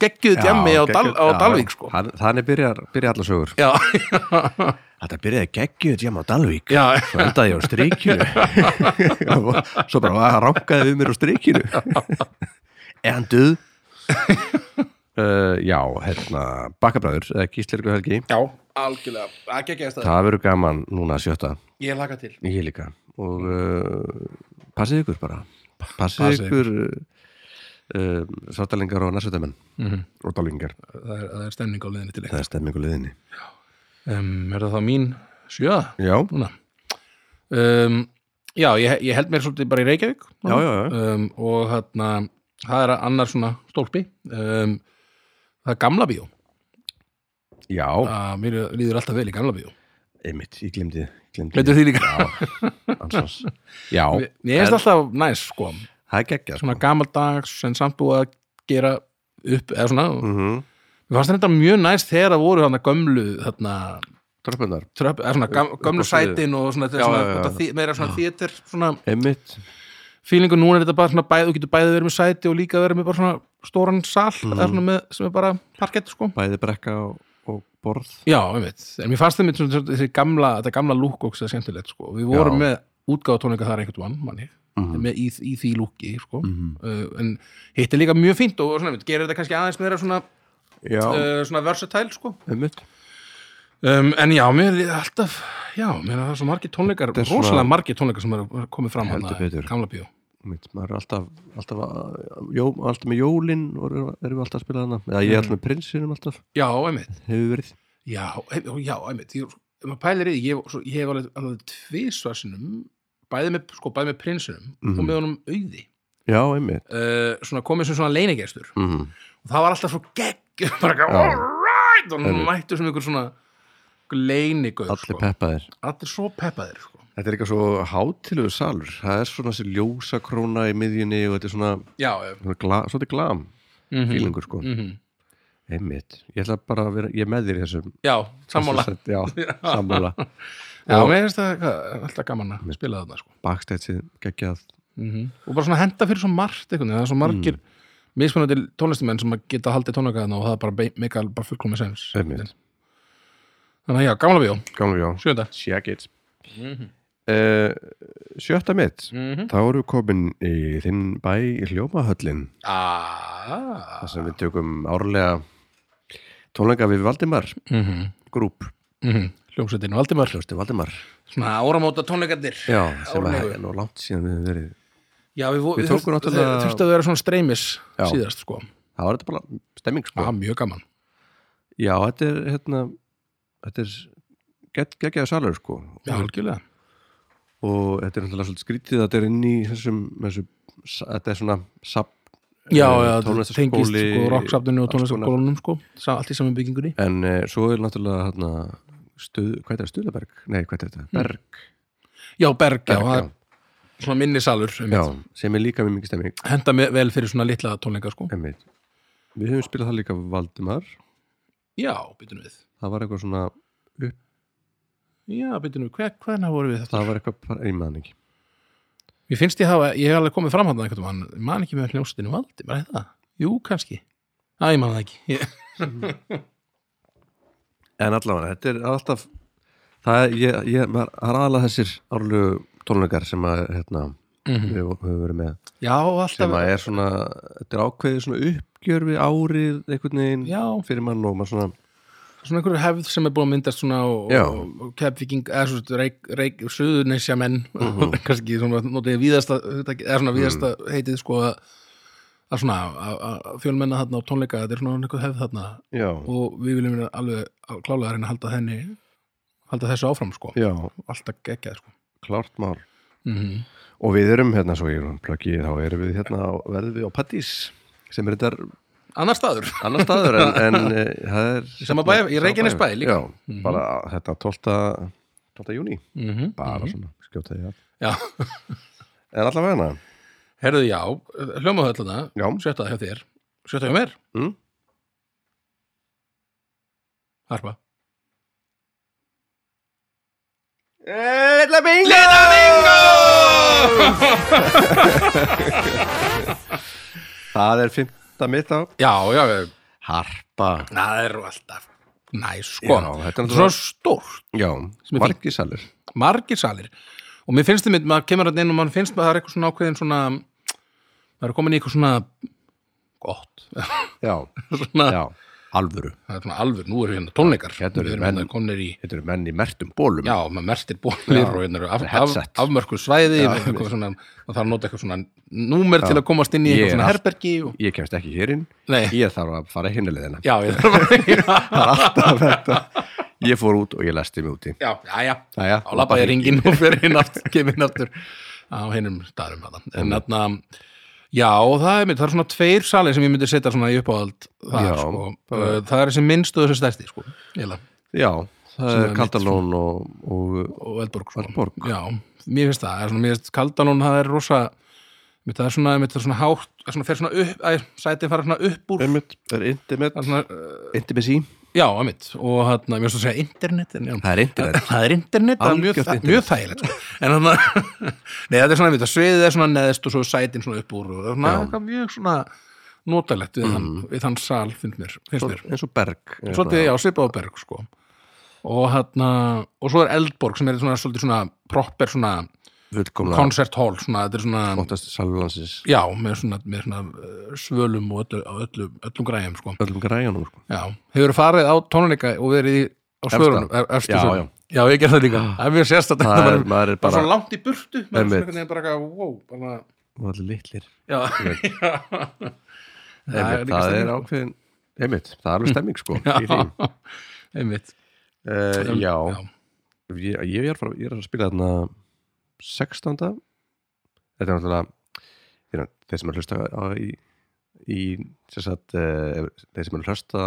Speaker 1: geggjuðu djammi
Speaker 2: Já,
Speaker 1: á, Dal, á
Speaker 2: geggjað- já,
Speaker 1: Dalvík sko
Speaker 2: hann- þannig byrjar, byrja alla sögur
Speaker 1: já,
Speaker 2: þetta byrjaði geggjuð djama á Dalvík
Speaker 1: já,
Speaker 2: svo endaði ég á strikinu svo bara að rankaði við mér á strikinu er hann döð uh, já, hérna bakkabræður, eða Gíslirku Helgi
Speaker 1: já, algjörlega það geggjaðist það,
Speaker 2: það verður gaman núna að sjötta
Speaker 1: ég laka til
Speaker 2: ég líka og uh, passið ykkur bara passið
Speaker 1: Passið
Speaker 2: ykkur uh, svartalingar og nærsöldamenn og dálingar,
Speaker 1: það er, það er stemning á liðinni til leik
Speaker 2: það er stemmingu liðinni
Speaker 1: um, er það þá mín sjöða
Speaker 2: já,
Speaker 1: núna um, já, ég, ég held mér svolítið bara í Reykjavík
Speaker 2: já, já, já.
Speaker 1: Um, og þarna það er annar svona stólpi um, það er gamla bíó
Speaker 2: já,
Speaker 1: að mér líður alltaf vel í gamla bíó
Speaker 2: einmitt, ég glemdi glemdi,
Speaker 1: veitur því líka
Speaker 2: ansvars já,
Speaker 1: Mér mér finnst
Speaker 2: en-
Speaker 1: alltaf næs sko
Speaker 2: það er geggjað
Speaker 1: svona gammaldags en samt búið að gera upp eða svona
Speaker 2: mm -hmm.
Speaker 1: mér fannst þetta mjög næs þegar það voru þarna gömlu þarna
Speaker 2: tröppunar,
Speaker 1: tröpp eða svona gam,
Speaker 2: Upp- upp á
Speaker 1: gömlu
Speaker 2: sviðið.
Speaker 1: sætin og svona, þetta er
Speaker 2: Já,
Speaker 1: svona
Speaker 2: já, já.
Speaker 1: þetta þý- meira svona þýttir svona
Speaker 2: einmitt
Speaker 1: fílingu núna er þetta bara svona bæð, þú getur bæði verið með sæti og líka verið með bara svona stóran sall
Speaker 2: Mm.
Speaker 1: eða svona með, sem er bara parkett sko
Speaker 2: bæði brekka og, og borð
Speaker 1: já, einmitt, en mér fannst þeim svona, svona, þessi gamla, þetta gamla lúk og þessi skemmtilegt sko við
Speaker 2: Já.
Speaker 1: vorum
Speaker 2: Mhm.
Speaker 1: með útgáðutónleika þar einhvern vann manni, með í, í því lúki sko, uh, en hitt er líka mjög fínt og svona, einmitt, gerir þetta kannski aðeins meira svona,
Speaker 2: já,
Speaker 1: uh, svona versatile sko
Speaker 2: einmitt
Speaker 1: um, en já, mér er alltaf já, mér er það svo margir tónleikar
Speaker 2: Þetta er svona-
Speaker 1: rosalega margir tónleikar sem er komið fram
Speaker 2: Heldur
Speaker 1: þarna,
Speaker 2: betur.
Speaker 1: gamla bíó
Speaker 2: Mitt, maður er alltaf, alltaf, að- jó, alltaf með jólin og erum erum við alltaf að spila hana eða ég er alltaf með prinsinum alltaf,
Speaker 1: já, einmitt
Speaker 2: hefur verið
Speaker 1: Já, hef- já, einmitt ég, ef maður pælir í, því, ég, svo, ég hef alveg, alveg tvisvarsinum, bæði með, sko, bæði með prinsinum
Speaker 2: Mhm.
Speaker 1: og með honum auði
Speaker 2: já, einmitt
Speaker 1: uh, svona komið sem svona leinigestur
Speaker 2: mm
Speaker 1: og það var alltaf svo gegg bara ekki,
Speaker 2: Já.
Speaker 1: all right og
Speaker 2: Einmitt.
Speaker 1: mættu sem ykkur svona leinigur,
Speaker 2: allir
Speaker 1: sko,
Speaker 2: peppaðir
Speaker 1: allir svo peppaðir sko.
Speaker 2: Þetta er eitthvað svo hátilegu salur það er svona þessi ljósakróna í miðjunni og þetta er svona,
Speaker 1: Já, já
Speaker 2: svona gla, svolítið glam
Speaker 1: mm
Speaker 2: fílingur sko, einmitt ég ætla bara að vera, ég er með þér í þessum
Speaker 1: Já, sammála
Speaker 2: þessu set- já, sammála
Speaker 1: Já,
Speaker 2: Og-
Speaker 1: mér finnst það eitthvað- alltaf gaman að spila þarna sko.
Speaker 2: backstageið geggjað Mhm.
Speaker 1: -hmm. og bara svona henda fyrir svo margt einhvern veginn, það er svo margir
Speaker 2: Mm.
Speaker 1: mismunandi tónlistumenn sem að geta haldið tónleikaðan og það er bara be- meika bara fullkomið sens
Speaker 2: Einmitt.
Speaker 1: þannig að já, gamla bíó,
Speaker 2: gamla já,
Speaker 1: sjönda
Speaker 2: check it
Speaker 1: Mhm.
Speaker 2: uh, sjötta mitt
Speaker 1: Mm.
Speaker 2: þá erum við komin í þinn bæ í hljómahöllin
Speaker 1: aaaah
Speaker 2: þar sem við tökum árlega tónleika við Valdimar grúp,
Speaker 1: Mhm. hljómsveitin Valdimar,
Speaker 2: hljósti Valdimar
Speaker 1: svona áramóta tónleikarnir
Speaker 2: já, sem að
Speaker 1: Árlegu.
Speaker 2: er nú langt síðan við höfum verið
Speaker 1: já, við, vo-
Speaker 2: Við
Speaker 1: við
Speaker 2: tókum
Speaker 1: þurftum
Speaker 2: náttúrulega-
Speaker 1: náttúrulega... að vera svona streymis
Speaker 2: Já.
Speaker 1: síðast sko,
Speaker 2: það var þetta bara stemming sko
Speaker 1: það er mjög gaman
Speaker 2: Já, þetta er hérna þetta er gegg- geggjaður salur sko
Speaker 1: já, algjörlega,
Speaker 2: og þetta er náttúrulega svolítið skrítið að þetta er inn í þessum, þessu, þetta er svona sap,
Speaker 1: já,
Speaker 2: Eh,
Speaker 1: já, það
Speaker 2: tónlistarskóli-
Speaker 1: tengist sko rocksafninu og
Speaker 2: alls konar.
Speaker 1: tónlistarskólanum sko, sa- allt í saman byggingunni
Speaker 2: en e, svo er náttúrulega hérna, stuð, hvað er þetta, Stuðaberg? Nei, hvað er þetta? Berg,
Speaker 1: já, Berg, já,
Speaker 2: Berg
Speaker 1: það er svona minni salur einmitt.
Speaker 2: já, sem er líka mjög mikið stemming
Speaker 1: henda me- vel fyrir svona litla tónleika sko
Speaker 2: einmitt. Við höfum spilað það líka Valdimar,
Speaker 1: Já, byttum við
Speaker 2: það var eitthvað svona
Speaker 1: Já, byttum við, Hver, hvernig voru við þetta?
Speaker 2: það var eitthvað, par- ég man ekki
Speaker 1: Mér finnst ég hafa, ég hef alveg komið fram hann einhvern veginn, man ekki með hljóstinu valdi, bara þetta Jú, kannski, Æ, ég man það ekki ég,
Speaker 2: En allavega, þetta er alltaf það er, ég, ég, maður- það er aðalega þessir árlegu tónleikar sem að hérna,
Speaker 1: Mhm.
Speaker 2: við höfum verið með
Speaker 1: Já, alltaf
Speaker 2: sem að er svona, þetta er ákveðið svona uppgjör við árið einhvern veginn
Speaker 1: Já,
Speaker 2: fyrir mann og maður svona
Speaker 1: svona einhverju hefð sem er búin að myndast svona og,
Speaker 2: Já.
Speaker 1: og, og kefviking, eða svona reik, reik, söðurnesja menn
Speaker 2: Mhm.
Speaker 1: kannski svona notiði víðasta hugtakið- eða svona víðasta heitið sko að að svona að- að fjölmenna þarna á tónleika þetta er svona einhver hefð þarna
Speaker 2: já,
Speaker 1: og við viljum vera alveg að- klálega að reyna að halda henni halda þessu áfram sko
Speaker 2: já,
Speaker 1: alltaf geggjað sko
Speaker 2: klart mál
Speaker 1: mm
Speaker 2: Mhm. og við erum hérna svo í plöggi þá erum við hérna, á- verðum við á Pattís sem er þetta
Speaker 1: annar staður
Speaker 2: annar staður en, en eh, það er
Speaker 1: sama bæ- í
Speaker 2: sama
Speaker 1: Reykjanesbæ líka.
Speaker 2: já, bara þetta 12. 12. júni
Speaker 1: mm
Speaker 2: bara svona, skjóta því að
Speaker 1: já,
Speaker 2: Mhm. en allavega hana,
Speaker 1: herðu já, hljóma höll þarna
Speaker 2: já,
Speaker 1: sjötta hjá þér, sjötta hjá mér
Speaker 2: Mm.
Speaker 1: harpa
Speaker 2: Lilla Bingo! það er fymta mitt á
Speaker 1: já, já, já
Speaker 2: Harpa
Speaker 1: Það er alltaf næs sko
Speaker 2: Já, þetta er
Speaker 1: Svo
Speaker 2: náttúrulega-
Speaker 1: stórt,
Speaker 2: Já,
Speaker 1: Sem er fínt.
Speaker 2: margisalur
Speaker 1: margir salir og mér finnst þeim, maður kemur að inn og maður finnst maður það er eitthvað svona ákveðin svona maður er komin í eitthvað svona gott,
Speaker 2: Já,
Speaker 1: svona,
Speaker 2: já, alvöru
Speaker 1: það er svona alveg nú eru hérna tónleikar,
Speaker 2: Hérna eru
Speaker 1: við erum
Speaker 2: menn.
Speaker 1: hérna komnir í
Speaker 2: Þetta eru menn í mertum bólum
Speaker 1: já, maður mertir bólir og hérna eru af, af,
Speaker 2: headset.
Speaker 1: afmörkuð svæði
Speaker 2: Já,
Speaker 1: og eitthvað svona, maður þarf að nota eitthvað svona númer til að komast inn í
Speaker 2: Ég er
Speaker 1: eitthvað svona
Speaker 2: allt-
Speaker 1: herbergi og,
Speaker 2: Ég kemst ekki hér inn
Speaker 1: nei,
Speaker 2: Ég þarf að fara hinnilegðina
Speaker 1: já, ég þarf að
Speaker 2: Það er alltaf þetta Ég fór út og ég lesti mig úti
Speaker 1: já, já, já,
Speaker 2: Jæja,
Speaker 1: á labbaði ringin og fyrir hinn aftur, kemur hinn aftur á hinnum staðum hana. en þarna, já það er mitt, það er svona tveir salin sem ég myndi setja svona í uppáhald það,
Speaker 2: Já,
Speaker 1: sko.
Speaker 2: bara-
Speaker 1: Uh, það er þessi minnst og þessi stærsti sko. Eila,
Speaker 2: Já, það
Speaker 1: Sem er
Speaker 2: er Kaldalón og, og uh,
Speaker 1: og Eldborg, sko.
Speaker 2: Eldborg.
Speaker 1: já, mér finnst það, það er svona, mér finnst Kaldalón það er rosa mitt, það er svona, mitt, það er svona hátt það er svona, fer svona upp, að, sætin fara svona upp úr
Speaker 2: Einmitt, er intimate
Speaker 1: það er svona, uh,
Speaker 2: Intimacy
Speaker 1: já, að mitt og hann, mér finnst það að segja internet en, já,
Speaker 2: Það er internet
Speaker 1: það er internet, það er mjög,
Speaker 2: Algjört
Speaker 1: þæ,
Speaker 2: internet.
Speaker 1: mjög þægilegt sko. en þannig að nei, þetta er svona, við, sviðið er svona neðst og svo er sætin svona upp úr og það er svona,
Speaker 2: Já. Mhm.
Speaker 1: eitthvað mjög svona notalegt við, hann, við hann sal finnst mér, finnst mér.
Speaker 2: eins og berg
Speaker 1: svolítið, já, svipað á berg sko. og hann og svo er Eldborg sem er svona, svolítið svona proper svona
Speaker 2: fullkomlega
Speaker 1: concert hall svona, þetta er svona,
Speaker 2: konstast salvalansis
Speaker 1: já, með svona, með svona eh, svölum og öllu, á öllu, öllum græjum sko.
Speaker 2: öllum græjanum sko.
Speaker 1: Já, hefur farið á tónleika og verið í á
Speaker 2: Efsta.
Speaker 1: svörunum, er- efstu
Speaker 2: Já, Ah.
Speaker 1: svörunum Já, ég gerði það líka, það er mjög sérstætt
Speaker 2: það er, maður er
Speaker 1: bara
Speaker 2: bara
Speaker 1: svona langt í burtu maður er
Speaker 2: Einmitt.
Speaker 1: svona einhvern veginn bara eitthvað, wow bara,
Speaker 2: og allir litlir
Speaker 1: já,
Speaker 2: Einmitt.
Speaker 1: já
Speaker 2: það er, það er
Speaker 1: á
Speaker 2: ákveðin einmitt, það er alveg stemming sko í því.
Speaker 1: einmitt
Speaker 2: Eh,
Speaker 1: Um,
Speaker 2: já,
Speaker 1: já.
Speaker 2: Ég, ég, er frá, ég er að spila þarna 16. þetta er náttúrulega þeir, þeir sem er að hlusta á, í, í sem sagt, uh, þeir sem er að hlusta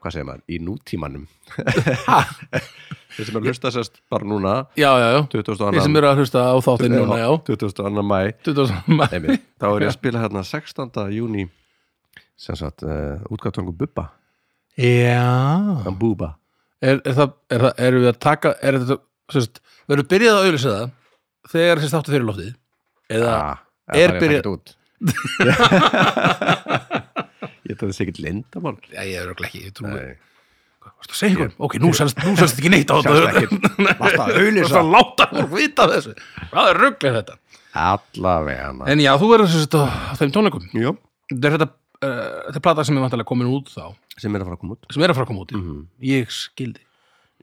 Speaker 2: hvað segir maður, í nútímanum þeir sem er að hlusta sérst bara núna
Speaker 1: já, já, já,
Speaker 2: 22.
Speaker 1: þeir sem eru að hlusta á þáttinn núna, já
Speaker 2: 22. mæ
Speaker 1: Tuttugu og sama.
Speaker 2: Einmitt. þá er ég að spila hérna 16. júni sem sagt uh, útgáttangu Bubba
Speaker 1: Já
Speaker 2: en Búba
Speaker 1: Er er það, er það, erum við að taka er þetta, sérst, við erum byrjað að auðlýsa það þegar þessi þáttu fyrir loftið eða,
Speaker 2: Ah.
Speaker 1: Er byrja-
Speaker 2: byrjað út ég þetta er sikkert lindamál
Speaker 1: já, ég er örugglega ekki, ég trúi
Speaker 2: Nei.
Speaker 1: Varstu að segja ykkur? Ok, nú sannst, nú sannst ekki neitt á þetta.
Speaker 2: Sást ekkert. Varstu að auglýsa?
Speaker 1: Varstu að láta fólk vita af þessu. Hvað er rugglir þetta?
Speaker 2: allavega hana
Speaker 1: En já, þú verður þess að á þeim tónleikum.
Speaker 2: Jó,
Speaker 1: Þetta er þetta, uh, þetta er plata sem er vantilega komin út þá,
Speaker 2: sem er að fara að koma út
Speaker 1: sem er að fara að koma út í. Ég skildi.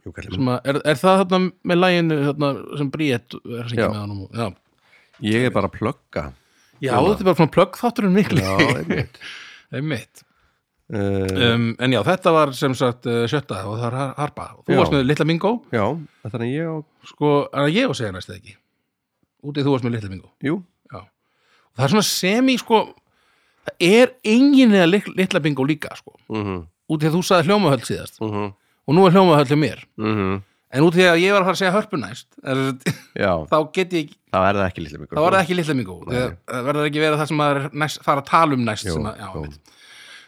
Speaker 2: Jú, kallinn minn.
Speaker 1: Sem að, er, er það þarna með læginu þarna, sem Bríett er að syngja
Speaker 2: Já.
Speaker 1: með hann? Já,
Speaker 2: ég er bara að plugga
Speaker 1: já þetta er bara svona plöggþátturinn mikli.
Speaker 2: já, einmitt
Speaker 1: Einmitt.
Speaker 2: uh,
Speaker 1: Um, en já, þetta var sem sagt uh, sjötta og það er har- harpa. Þú
Speaker 2: Já.
Speaker 1: varst með Litla Bingo,
Speaker 2: já, þannig að ég á
Speaker 1: sko, en ég var að segja næst eða ekki. Útið þú varst með Litla Bingo.
Speaker 2: jú,
Speaker 1: það er svona semi sko það er engin eða lit- litla bingo líka sko
Speaker 2: mm -hmm.
Speaker 1: út í að þú saði hljómahöll síðast
Speaker 2: Mm -hmm.
Speaker 1: og nú er hljómahöll hjá mér
Speaker 2: mhm.
Speaker 1: en út í að ég var að fara að segja hörpu næst er,
Speaker 2: já,
Speaker 1: þá get ég,
Speaker 2: þá er það ekki lítið
Speaker 1: þá var það ekki litla bingo Þegar- það verður ekki verið það sem maður er næst, fara að tala um næst
Speaker 2: Jú,
Speaker 1: sem að, já,
Speaker 2: jú. Mhm.
Speaker 1: veit.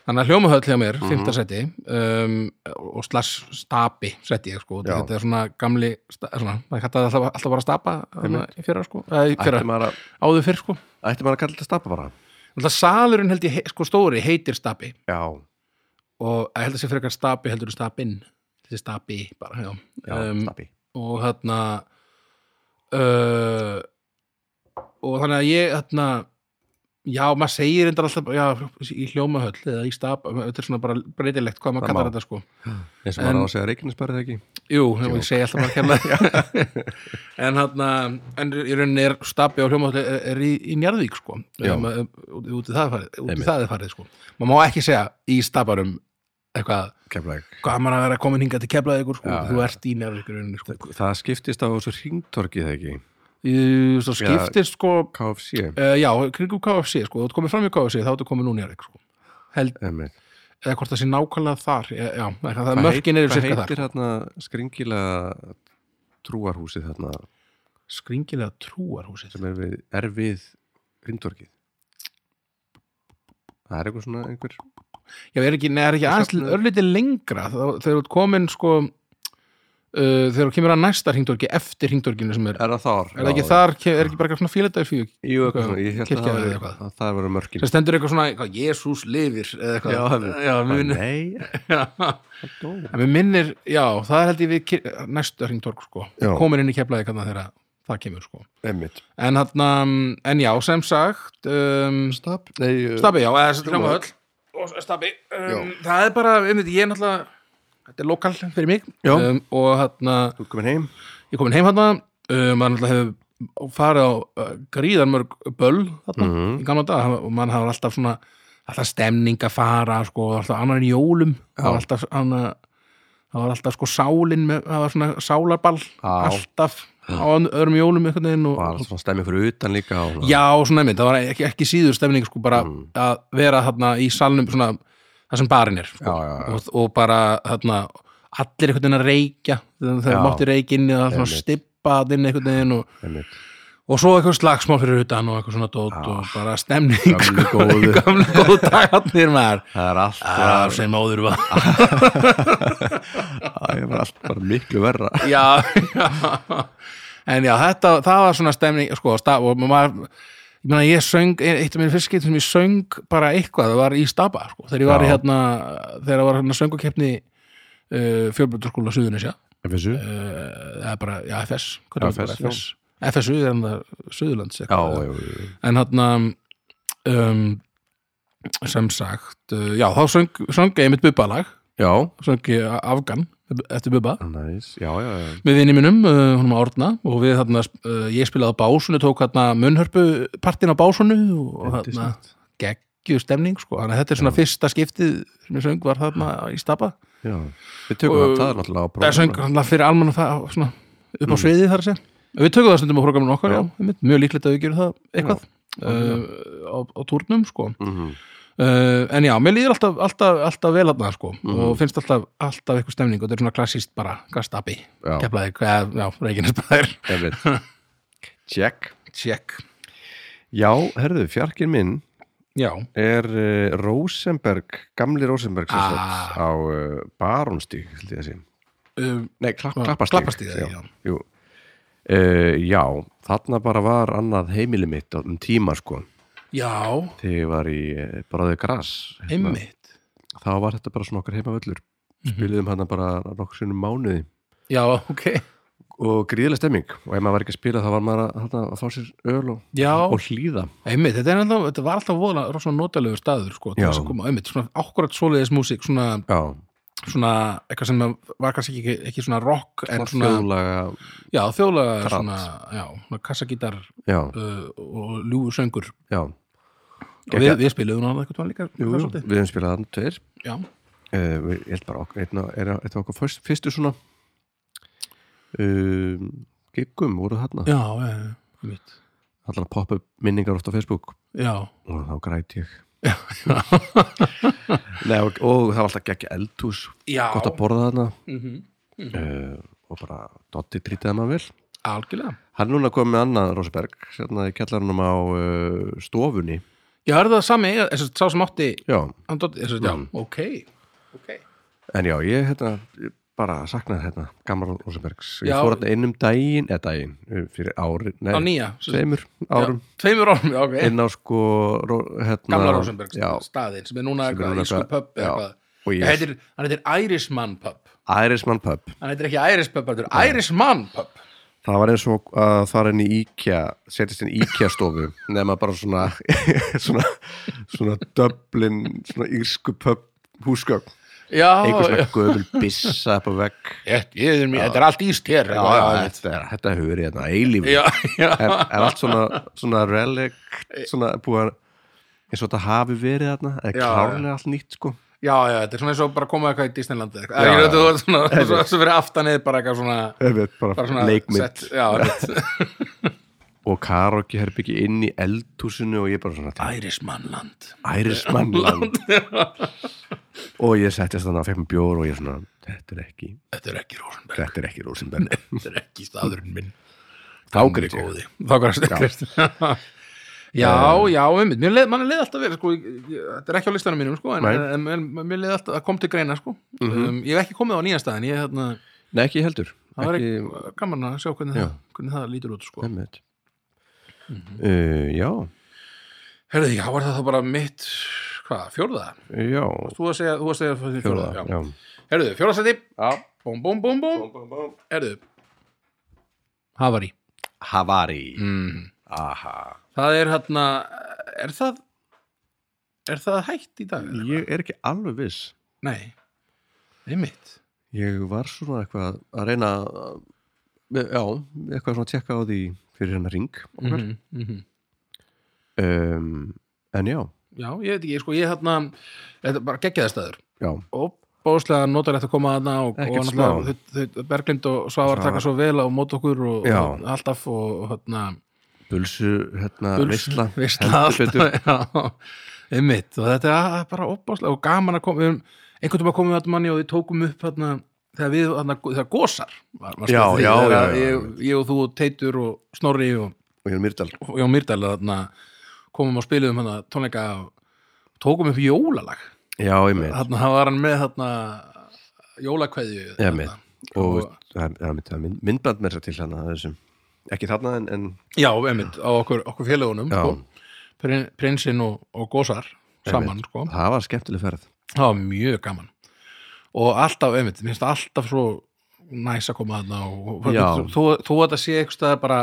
Speaker 1: þannig að hljómahöll hjá mér, fimmta seti um, og slash stapi seti ég sko,
Speaker 2: Já.
Speaker 1: þetta er svona gamli sta- svona, maður kallaði alltaf, alltaf bara stapa hana, í fyrra sko, eða í
Speaker 2: ætti
Speaker 1: fyrra,
Speaker 2: maður að
Speaker 1: áður fyrr sko
Speaker 2: ætti maður að kalla þetta stapa bara
Speaker 1: Alltaf salurinn held ég, he- sko stóri, heitir stapi
Speaker 2: já,
Speaker 1: og ég held að sé frekar stapi heldur en stapinn þessi stapi bara já.
Speaker 2: já,
Speaker 1: Um,
Speaker 2: stapi
Speaker 1: og hérna uh, og þannig að ég þarna, já, maður segir reyndar alltaf, já, í hljómahöll eða í stab, þetta er svona bara breytilegt hvað maður
Speaker 2: Það
Speaker 1: kallar
Speaker 2: má.
Speaker 1: þetta sko
Speaker 2: eins og maður á að segja Reykjanesbærið ekki
Speaker 1: Jú, og ég segi alltaf bara kærlega en hann en í rauninni er stabi á hljómaðalli er, er í, í Njarðvík sko
Speaker 2: Já.
Speaker 1: um, út, út í það er farið, út í
Speaker 2: Einmitt.
Speaker 1: það er farið sko maður má ekki segja í stabarum eitthvað
Speaker 2: Keflæk.
Speaker 1: gaman að vera komin hingað til keflaði ykkur sko
Speaker 2: Já,
Speaker 1: þú
Speaker 2: já.
Speaker 1: ert í Njarðvík í rauninni sko
Speaker 2: það skiptist á þessu hringtorkið eða ekki
Speaker 1: Í- svo
Speaker 2: Já.
Speaker 1: skiptist sko
Speaker 2: KFC
Speaker 1: uh, já, kringum KFC sko þú ert komin fram í KFC þá ertu komin úr Njarðvík sko Held,
Speaker 2: Einmitt.
Speaker 1: eða hvort það sé nákvæmlega þar já, já, eitthvað, það
Speaker 2: Hvað
Speaker 1: mörkin
Speaker 2: heit-
Speaker 1: eru cirka
Speaker 2: hvað
Speaker 1: þar
Speaker 2: heitir hérna skringilega trúarhúsið þarna
Speaker 1: skringilega trúarhúsið
Speaker 2: sem er við, er við hringtorkið það er eitthvað svona einhver
Speaker 1: Já, er ekki, neða, er ekki
Speaker 2: Það
Speaker 1: aðeins
Speaker 2: safnaði-
Speaker 1: örlítið lengra þá, þegar þú ert komin sko uh, þegar þú kemur að næsta hringdorki eftir hringdorkinu sem er,
Speaker 2: er það þar?
Speaker 1: er það ekki þar, ke- er ekki bara eitthvað svona félagsdæður fjög
Speaker 2: Jú, eitthvað svona, ég held að
Speaker 1: Kirkja
Speaker 2: það
Speaker 1: eða
Speaker 2: væri-
Speaker 1: eitthvað.
Speaker 2: að það verið mörkin
Speaker 1: sem stendur eitthvað svona, eitthvað, Jésús lifir eða eitthvað,
Speaker 2: Já, það er-
Speaker 1: já,
Speaker 2: Bara,
Speaker 1: mér minnir
Speaker 2: Nei,
Speaker 1: já,
Speaker 2: það dó
Speaker 1: mér minnir, já, það er held ég við kir, næsta hringdork sko,
Speaker 2: Já.
Speaker 1: komin inn í keflaði kannan þegar það kemur sko
Speaker 2: Einmitt
Speaker 1: en hann, en já, sem sagt um,
Speaker 2: Stab? Nei, uh,
Speaker 1: Stabi, já, eða hljóma
Speaker 2: Hljómahöll.
Speaker 1: höll og Stabi, um, það er bara einmitt, ég er náttúrulega, þetta er lokal fyrir mig
Speaker 2: Já.
Speaker 1: um, og hérna
Speaker 2: Þú komin heim
Speaker 1: ég er komin heim hérna um, maður náttúrulega hefur farið á uh, gríðan mörg böll þarna,
Speaker 2: Mhm.
Speaker 1: í gamla dag og mann hafa alltaf svona alltaf stemning að fara sko, og alltaf annar en jólum það var alltaf annað það var alltaf sko sálin með, það var svona sálarball
Speaker 2: Já.
Speaker 1: alltaf á öðrum jólum einhvern veginn og,
Speaker 2: og alls svona stemmið fyrir utan líka og,
Speaker 1: Já, svona einmitt, það var ekki, ekki síður stemning sko bara
Speaker 2: Mm.
Speaker 1: að vera þarna í salnum svona, það sem barinn er sko.
Speaker 2: Já, já, já.
Speaker 1: Og, og bara þarna allir einhvern veginn að reykja þegar
Speaker 2: Já.
Speaker 1: þegar mátti reykinni að svona
Speaker 2: Einmitt.
Speaker 1: stippa þarna inn einhvern veginn og,
Speaker 2: Einmitt
Speaker 1: og svo eitthvað slagsmál fyrir utan og eitthvað svona dót og bara stemning
Speaker 2: Gamli
Speaker 1: sko,
Speaker 2: góði.
Speaker 1: gamli góðu dagarnir maður
Speaker 2: Það er allt
Speaker 1: Það sem áður var
Speaker 2: Það er bara allt bara miklu verra
Speaker 1: já, já en já, þetta, það var svona stemning sko, staf, og maður ég meina, ég söng, e, eitt af mér fyrst skiptum sem ég söng bara eitthvað, það var í Staba sko, þegar ég var í
Speaker 2: Já.
Speaker 1: hérna, þegar það var hérna söngukeppni uh, fjölbjörnskóla Suðunisja,
Speaker 2: FSU?
Speaker 1: uh, það er bara, já, FS hvað er
Speaker 2: Já,
Speaker 1: það,
Speaker 2: FS, já.
Speaker 1: FS, FSU er hann það Suðurlands,
Speaker 2: Já,
Speaker 1: eitthvað.
Speaker 2: já, já
Speaker 1: en hérna um, sem sagt uh, já, þá söng, söng ég mitt bubbalag
Speaker 2: Já,
Speaker 1: söng ég Afgan eftir bubba
Speaker 2: næs, já, já, já
Speaker 1: með vinni mínum, uh, honum Árna og við þarna, uh, ég spilaði á básunu tók hérna munnhörpu partin á básunu og þarna
Speaker 2: Yndislegt.
Speaker 1: geggju stemning sko, þannig að þetta er svona fyrsta skiptið sem ég söng var þarna í Stapa
Speaker 2: Já, við tökum
Speaker 1: Og-
Speaker 2: það, það er náttúrulega á prófum.
Speaker 1: það söng hérna fyrir almanna það svona upp á sviði þar að segja við tökum það stundum á programinu okkar,
Speaker 2: Já.
Speaker 1: já, einmitt, mjög líklegt að við gerum það eitthvað uh, á, á turnum sko
Speaker 2: Mhm.
Speaker 1: Uh, en já, mér líður alltaf, alltaf, alltaf vel aðna sko og finnst alltaf, alltaf eitthvað stemning og þetta er svona klassist bara, gastabi
Speaker 2: Já.
Speaker 1: keflaði, hvað, já, reikinisbæðir
Speaker 2: Einmitt Check
Speaker 1: Tjekk.
Speaker 2: Já, herðu, fjarkinn minn
Speaker 1: Já.
Speaker 2: er uh, Rosenberg, gamli Rosenberg sem sagt,
Speaker 1: Ah.
Speaker 2: á uh, Baronstík, held ég að sé
Speaker 1: Um,
Speaker 2: Nei, kla
Speaker 1: Já,
Speaker 2: klappastík
Speaker 1: Klappastíg, já, já.
Speaker 2: Jú. Uh, já, þarna bara var annað heimili mitt á- um tíma sko
Speaker 1: já,
Speaker 2: þegar ég var í uh, Bráðið Gras hérna.
Speaker 1: einmitt. Mhm.
Speaker 2: þá var þetta bara svona okkar heimavöllur spiliðum hann bara nokkur sinnum mánuði
Speaker 1: Já, ok.
Speaker 2: og gríðileg stemming og ef maður var ekki að spila þá var maður að, þarna, að fá sér öl og,
Speaker 1: Já,
Speaker 2: og hlýða
Speaker 1: einmitt. Þetta, er alltaf, þetta var alltaf voðalega rosa notalegur staður, sko. til
Speaker 2: Já.
Speaker 1: þess að Koma, einmitt, svona akkurat svoleiðis músík, svona,
Speaker 2: Já,
Speaker 1: svona, eitthvað sem var kannski ekki, ekki svona rock, en
Speaker 2: svona
Speaker 1: svona,
Speaker 2: þjóðlaga
Speaker 1: já, þjóðlega,
Speaker 2: Trall.
Speaker 1: svona, já, svona kassagítar
Speaker 2: Já,
Speaker 1: uh, og ljúfur söngur.
Speaker 2: já
Speaker 1: Og Við, við spiluðum náða eitthvað tónleika,
Speaker 2: Jú,
Speaker 1: það
Speaker 2: jú,
Speaker 1: svolítið.
Speaker 2: við hefum spilað hann tveir
Speaker 1: Já,
Speaker 2: uh, við, ég held bara okkar einna, er, er þetta okkar fyrst, fyrstu svona um, giggum voru þarna
Speaker 1: já, já, já, einmitt.
Speaker 2: allan að poppa upp minningar oft á Facebook
Speaker 1: Já,
Speaker 2: og þá græti ég Nei, og, og það var alltaf gekk eldhús
Speaker 1: já.
Speaker 2: gott að borða þarna
Speaker 1: Mm
Speaker 2: uh, og bara Dotti trýtaði maður vel
Speaker 1: Algjörlega.
Speaker 2: hann er núna komið með annað Rósberg sérna í kjallarunum á uh, stofunni
Speaker 1: Já, er það sami, þess að sá sem átti,
Speaker 2: já,
Speaker 1: hann dótti, þess að, já, ok, ok.
Speaker 2: en já, ég hérna ég bara saknaði hérna gamla Rósbergs ég
Speaker 1: Já.
Speaker 2: fór þetta inn um daginn, eða daginn eh, fyrir ári, nei,
Speaker 1: á nýja sem-
Speaker 2: tveimur árum
Speaker 1: Já, tveimur árum, já, ok
Speaker 2: inn á sko ró- hérna,
Speaker 1: gamla Rosenberg
Speaker 2: já,
Speaker 1: staðinn sem er
Speaker 2: Sem er
Speaker 1: núna eitthvað
Speaker 2: núna
Speaker 1: ísku
Speaker 2: eitthvað-
Speaker 1: pub eða
Speaker 2: já.
Speaker 1: eitthvað.
Speaker 2: Og ég-
Speaker 1: Það heitir- hann heitir Irishman pub
Speaker 2: Irisman pub
Speaker 1: hann heitir ekki Irish pub, hann heitir Irishman pub
Speaker 2: það var eins og að fara inn í IKEA setjast inn í IKEA stofu nema bara svona svona, svona döblin svona írsku pub húsgögn
Speaker 1: já,
Speaker 2: einhver
Speaker 1: já.
Speaker 2: svona gömul byssa upp á vegg
Speaker 1: Ég, ég, ég, þetta er allt íst hér
Speaker 2: já, já, þetta, er- þetta hefur verið hérna eilífi
Speaker 1: já, já.
Speaker 2: er, er allt svona, svona relic svona búið að eins og þetta hafi verið þarna er
Speaker 1: Já,
Speaker 2: klárlega allt nýtt sko
Speaker 1: já, já, þetta er svona eins og bara koma eitthvað í Disneyland
Speaker 2: Já,
Speaker 1: eða eitthvað,
Speaker 2: já.
Speaker 1: ég veit þú veist svona svo- svo fyrir aftan eða bara eitthvað svona
Speaker 2: Einmitt, bara,
Speaker 1: bara svona
Speaker 2: leikmynd
Speaker 1: sett- já, einmitt.
Speaker 2: og karaoke herbyggi inn í eldhúsinu og ég bara svona
Speaker 1: Ærismannland
Speaker 2: ærismannland og ég settist þannig að fekk mér bjór og ég svona, þetta er ekki
Speaker 1: þetta er ekki Rósenberg,
Speaker 2: þetta er ekki Rósinberg
Speaker 1: þetta er ekki staðurinn minn
Speaker 2: þá greit ég
Speaker 1: góði þá græst Já, já, einmitt, mér leið, mann leið alltaf verið sko, ég- ég- þetta er ekki á listanum mínum sko, en,
Speaker 2: Nei.
Speaker 1: en, en mér leið alltaf, það kom til greina sko um, ég hef ekki komið á nýja staðin ég, þarna,
Speaker 2: nei ekki ég heldur
Speaker 1: það var
Speaker 2: ekki,
Speaker 1: ekki gaman að sjá hvernig,
Speaker 2: Já.
Speaker 1: það, hvernig það lítur út sko.
Speaker 2: einmitt uh, já,
Speaker 1: Herði, já, var það þá bara mitt hvað, fjórða?
Speaker 2: já
Speaker 1: Þú að segja, þú að segja fjórða,
Speaker 2: fjóða, já,
Speaker 1: Herðu, fjórðasæti,
Speaker 2: já.
Speaker 1: búm, búm, búm, búm Herðu Havari
Speaker 2: Havari
Speaker 1: mm.
Speaker 2: aha
Speaker 1: Það er hérna, er það er það hægt í dag? eða?
Speaker 2: ég er ekki alveg viss
Speaker 1: Nei, einmitt
Speaker 2: ég var svona eitthvað að reyna að- já, eitthvað svona að tjekka á því fyrir hennar ring
Speaker 1: mm
Speaker 2: okkar um, en já,
Speaker 1: Já, ég veit ekki, sko, ég hérna þetta er bara geggjaði staður
Speaker 2: já
Speaker 1: og bóðslega notalegt að koma þarna og, og
Speaker 2: Ekkert smá.
Speaker 1: náttúrulega, þau- þau- Berglind og Svavar
Speaker 2: Svavar.
Speaker 1: taka svo vel á mót okkur og,
Speaker 2: Já.
Speaker 1: og alltaf og og, hérna
Speaker 2: Bulsu, hérna,
Speaker 1: Bulsu-
Speaker 2: veistla
Speaker 1: veisla
Speaker 2: heldur betur.
Speaker 1: alltaf, já, einmitt og þetta er bara opbáslega og gaman að koma við erum, einhvern tímann komum við að manni og við tókum upp hérna, þegar við, hérna, þegar gósar var, var
Speaker 2: Já,
Speaker 1: því,
Speaker 2: já,
Speaker 1: þegar
Speaker 2: já, já, já.
Speaker 1: Ég, ég og þú og Teitur og Snorri og,
Speaker 2: og hérna Myrdal
Speaker 1: og Jón Myrdal þarna, komum og spilum hérna, tónleika og tókum upp jólalag
Speaker 2: já, ég meit,
Speaker 1: þarna, það var hann með þarna jólakveðju
Speaker 2: ég meit
Speaker 1: þarna.
Speaker 2: Hérna. og
Speaker 1: Og-
Speaker 2: það er- það er mynd- það er mynd- myndband með þess til hana þessum ekki þarna en, en
Speaker 1: já, einmitt, á okkur, okkur félagunum
Speaker 2: Já.
Speaker 1: sko, Prin- prinsinn og, og gósar saman,
Speaker 2: einmitt.
Speaker 1: sko
Speaker 2: það var skemmtileg ferð
Speaker 1: það var mjög gaman og alltaf, einmitt, mér finnst alltaf svo næs að koma þarna og
Speaker 2: Já.
Speaker 1: þú þú að þetta sé eitthvað staðar bara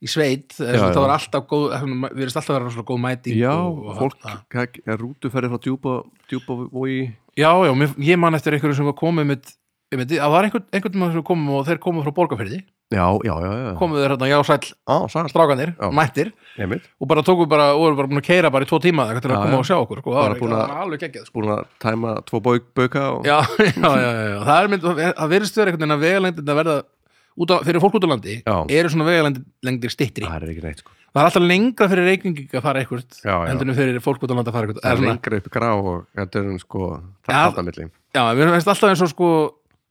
Speaker 1: í sveit, já,
Speaker 2: Já,
Speaker 1: það
Speaker 2: já.
Speaker 1: var alltaf góð við erum alltaf að vera svona góð mæting
Speaker 2: já,
Speaker 1: og, og
Speaker 2: fólk
Speaker 1: þarna.
Speaker 2: það er rútuferði frá djúpa djúpa vogi
Speaker 1: já, já, mér, ég man eftir einhverjum sem var komið með Einmitt, það var einhvern, einhvern mann sem komum og þeir komum frá borgarferði,
Speaker 2: já, já, já, já
Speaker 1: komuðu þeir hérna, já, sæll
Speaker 2: á, sæl,
Speaker 1: strákanir,
Speaker 2: Já.
Speaker 1: mættir
Speaker 2: ég meit
Speaker 1: og bara tókum bara, og vorum bara búin að keira bara í tvo tíma eða eitthvað til að
Speaker 2: Já, já.
Speaker 1: koma og sjá okkur sko. það
Speaker 2: Bara
Speaker 1: var,
Speaker 2: búin að-
Speaker 1: það var alveg geggjað sko.
Speaker 2: búin að tæma tvo bauk, bauka og
Speaker 1: já, já, já, já, já, það er mynd það verðist vera einhvern veginn að vegalengdin að verða út á, fyrir fólk út á landi
Speaker 2: Já.
Speaker 1: eru svona vegalengdir stittri
Speaker 2: það er ekki neitt sko
Speaker 1: það er alltaf lengra fyrir reikningi að fara eitthvað
Speaker 2: Já, já.
Speaker 1: hendunum fyrir fólk út á landi að
Speaker 2: það
Speaker 1: fara
Speaker 2: er
Speaker 1: eitthvað
Speaker 2: lengra upp í grá og þetta er sko það
Speaker 1: Já.
Speaker 2: er þetta milli
Speaker 1: já, mér finnst alltaf eins og sko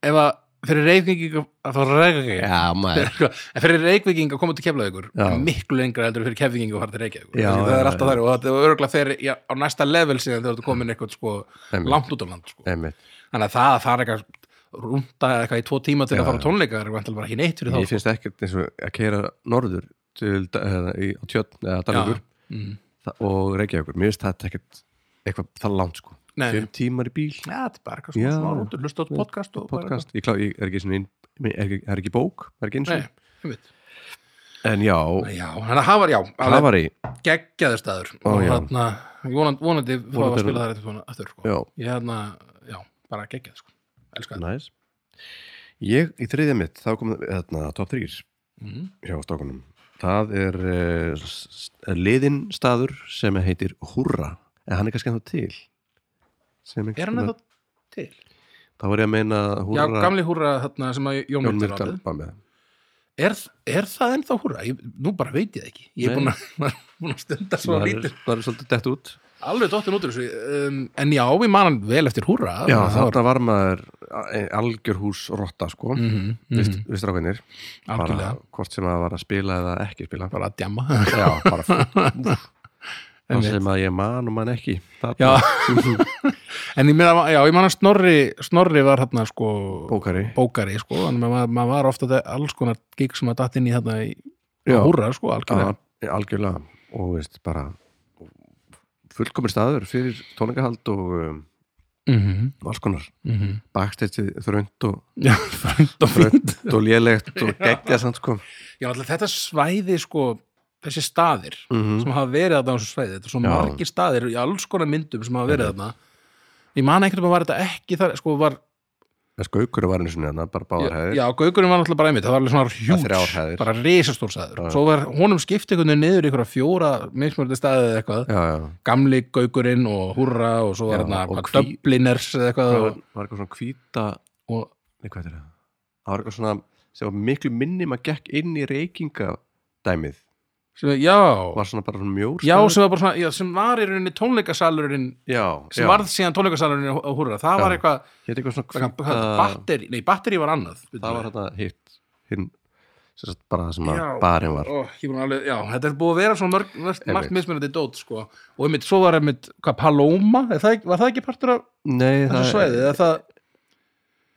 Speaker 1: ef að fyrir reikningi að fara reikningi
Speaker 2: já, maður
Speaker 1: Sko, en fyrir reikviking að koma til Keflavíkur
Speaker 2: Já.
Speaker 1: er miklu lengra heldur en fyrir kefviking að fara til Reykjavíkur
Speaker 2: Já,
Speaker 1: Þannig það
Speaker 2: já,
Speaker 1: er alltaf
Speaker 2: já.
Speaker 1: þar og þetta er örgulega fyrir já, á næsta level síðan þegar þú komin eitthvað sko,
Speaker 2: Einmitt.
Speaker 1: langt út á land sko.
Speaker 2: Einmitt.
Speaker 1: þannig að það að fara eitthvað rúnda eða eitthvað í tvo tíma til
Speaker 2: Já,
Speaker 1: að fara á
Speaker 2: já.
Speaker 1: tónleika er vantilega bara ekki neitt fyrir
Speaker 2: Ég
Speaker 1: þá
Speaker 2: finnst ekkert eins og að keira norður til, eða, í, á tjötn eða Dalvíkur
Speaker 1: mm.
Speaker 2: þa- og Reykjavíkur, mér finnst þetta ekkert eitthvað það langt sko,
Speaker 1: Nei.
Speaker 2: fimm tímar í bíl
Speaker 1: ja, þetta er bara eitthvað svona,
Speaker 2: Já.
Speaker 1: svona rúndur hlusta á podcast og
Speaker 2: podcast, ég, klá, ég er ekki svona inn, er, ekki- er ekki bók, er ekki eins og
Speaker 1: bara eitthvað. Nei, einmitt.
Speaker 2: en já,
Speaker 1: já, þannig að það var já
Speaker 2: það
Speaker 1: alveg
Speaker 2: var í
Speaker 1: geggjaður staður
Speaker 2: Ó,
Speaker 1: og
Speaker 2: já.
Speaker 1: þarna, ég vonandi, vonandi fá að
Speaker 2: Vonandi-
Speaker 1: spila það eftir, eftir sko.
Speaker 2: já,
Speaker 1: ég þarna, já, bara geggjað sko. elskar það
Speaker 2: næs ég, í þriðja mitt, þá kom þarna top 3
Speaker 1: mm.
Speaker 2: hjá stokkunum það er uh, liðin staður sem heitir Húrra, en hann er kannski ennþá til sem einhvers
Speaker 1: er hann
Speaker 2: konar-
Speaker 1: eða til?
Speaker 2: þá var ég að meina
Speaker 1: Já,
Speaker 2: Húrra
Speaker 1: gamli húra þarna sem að Jón
Speaker 2: Jón
Speaker 1: Myrdal
Speaker 2: Myrdal
Speaker 1: átti.
Speaker 2: var með
Speaker 1: er, er það ennþá húra? Ég, nú bara veit ég það ekki
Speaker 2: Nei.
Speaker 1: Ég er búin að, maður er búinn að stunda svo
Speaker 2: það er,
Speaker 1: lítið
Speaker 2: það er svolítið dett út
Speaker 1: Alveg dottin út úr þessu um, En já, ég man hann vel eftir húra
Speaker 2: já,
Speaker 1: það var
Speaker 2: þarna var maður a- algjör hús rotta sko mm
Speaker 1: Mhm,
Speaker 2: -hmm.
Speaker 1: mhm,
Speaker 2: við strákanir bara
Speaker 1: Algjörlega,
Speaker 2: hvort sem að var að spila eða ekki spila
Speaker 1: bara að djamma
Speaker 2: já, bara fú- það
Speaker 1: Einmitt.
Speaker 2: sem að ég man og man ekki
Speaker 1: Já.
Speaker 2: þarna
Speaker 1: En ég meina, já, ég man að Snorri Snorri var hérna sko
Speaker 2: bókari
Speaker 1: bókari, sko, þannig að maður, maður var ofta alls konar gig sem að datt inn í þarna í
Speaker 2: Já.
Speaker 1: húra, sko, algjörlega
Speaker 2: Já, algjörlega og veist bara fullkomir staður fyrir tónleikahald og um,
Speaker 1: mhm,
Speaker 2: og alls konar
Speaker 1: mhm
Speaker 2: bakstættið þrönd og,
Speaker 1: Já, frænt og fínt
Speaker 2: þrönd og lélegt og geggja samt sko
Speaker 1: Já, alltaf þetta svæði sko þessi staðir
Speaker 2: Mhm.
Speaker 1: sem hafa verið þarna á þessu svæði, þetta er svo
Speaker 2: Já.
Speaker 1: margir staðir í alls konar myndum sem hafa verið þarna Ég man einhvern veginn var þetta ekki þar, sko var,
Speaker 2: en skaukur var einu sinni þarna, bara báðar hæðir
Speaker 1: já, Gaugurinn var náttúrulega bara einmitt, það var alveg svona
Speaker 2: Það er þrjár hæðir.
Speaker 1: hjúts, bara risastórsæður
Speaker 2: Já.
Speaker 1: Svo var honum skipt einhvern veginn niður í einhverja fjóra mismörði staðið eða eitthvað,
Speaker 2: já, já,
Speaker 1: gamli Gaugurinn og Húrra og svo
Speaker 2: Já,
Speaker 1: var þarna
Speaker 2: og
Speaker 1: hvað,
Speaker 2: hví-
Speaker 1: Dubliners eða
Speaker 2: það
Speaker 1: eitthvað
Speaker 2: var,
Speaker 1: og,
Speaker 2: var eitthvað svona hvíta
Speaker 1: og,
Speaker 2: nei hvað er það það var eitthvað svona sem var miklu minni maður gekk inn í reykingadæmið
Speaker 1: sem, já,
Speaker 2: var svona bara svona mjór
Speaker 1: já,
Speaker 2: staður.
Speaker 1: sem var bara svona, já, sem var í rauninni tónleikasalurinn
Speaker 2: já,
Speaker 1: sem
Speaker 2: já.
Speaker 1: varð síðan tónleikasalurinn á á Húrra það var
Speaker 2: Já.
Speaker 1: eitthvað,
Speaker 2: Hét eitthvað svona
Speaker 1: hvað-
Speaker 2: hvíta
Speaker 1: hvað- batteri nei, batteri var annað
Speaker 2: það var þetta hitt hinn sem sagt bara það sem að
Speaker 1: Já.
Speaker 2: barinn var
Speaker 1: Ó, ég er búinn að alveg, já, þetta er búið að vera svona mörg, mörg, margt
Speaker 2: Einmitt.
Speaker 1: mismunandi dót sko. og einmitt, svo var einmitt, hvað, Paloma er það, ekki- var það ekki partur af
Speaker 2: nei,
Speaker 1: þessu svæði eða það,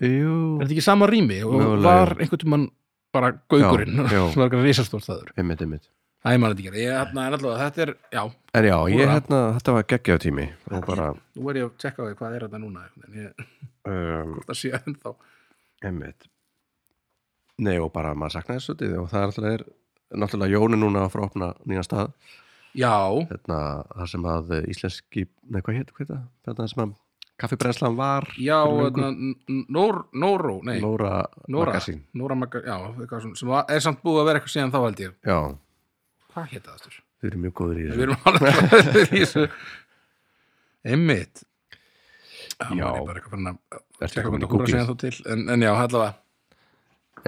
Speaker 2: jú,
Speaker 1: er þetta ekki sama rými og
Speaker 2: Mögulega,
Speaker 1: var
Speaker 2: já.
Speaker 1: einhvern tímann bara gaugurinn
Speaker 2: Já, já.
Speaker 1: sem var eitthvað risastórt staður
Speaker 2: einmitt, einmitt
Speaker 1: Æ, maður þetta ekki, ég hérna er allavega, þetta er já,
Speaker 2: en já, ég
Speaker 1: Húrra.
Speaker 2: hérna, þetta var geggjaðu tími og bara,
Speaker 1: nú er ég að tjekka á því hvað er þetta núna en ég,
Speaker 2: um,
Speaker 1: það sé ennþá
Speaker 2: einmitt nei og bara maður saknaði þessu svolítið og það er alltaf er náttúrulega Jóni núna að fara að opna nýjan stað
Speaker 1: já,
Speaker 2: hérna, það sem að íslenski nei, hvað hétt, hvað hétt það? Þetta sem að kaffibrennslan var
Speaker 1: já,
Speaker 2: Fyrir löngu.
Speaker 1: hérna, N- N- Nór- Nóró, nei
Speaker 2: Nóra
Speaker 1: Nóra,
Speaker 2: Magasín
Speaker 1: Nóra Magasín, já, eitthvað svona, sem var- er samt búið að vera eitthvað síðan þá held ég.
Speaker 2: já,
Speaker 1: Hvað hétt það aftur?
Speaker 2: þau eru mjög góður í
Speaker 1: Við
Speaker 2: þessu
Speaker 1: erum alveg um í þessu. Einmitt. Já.
Speaker 2: Já.
Speaker 1: maður er bara eitthvað fann að
Speaker 2: Ertu
Speaker 1: tjekka
Speaker 2: komin í
Speaker 1: hvað það húra
Speaker 2: Google?
Speaker 1: síðan þá til, en, en já, allavega.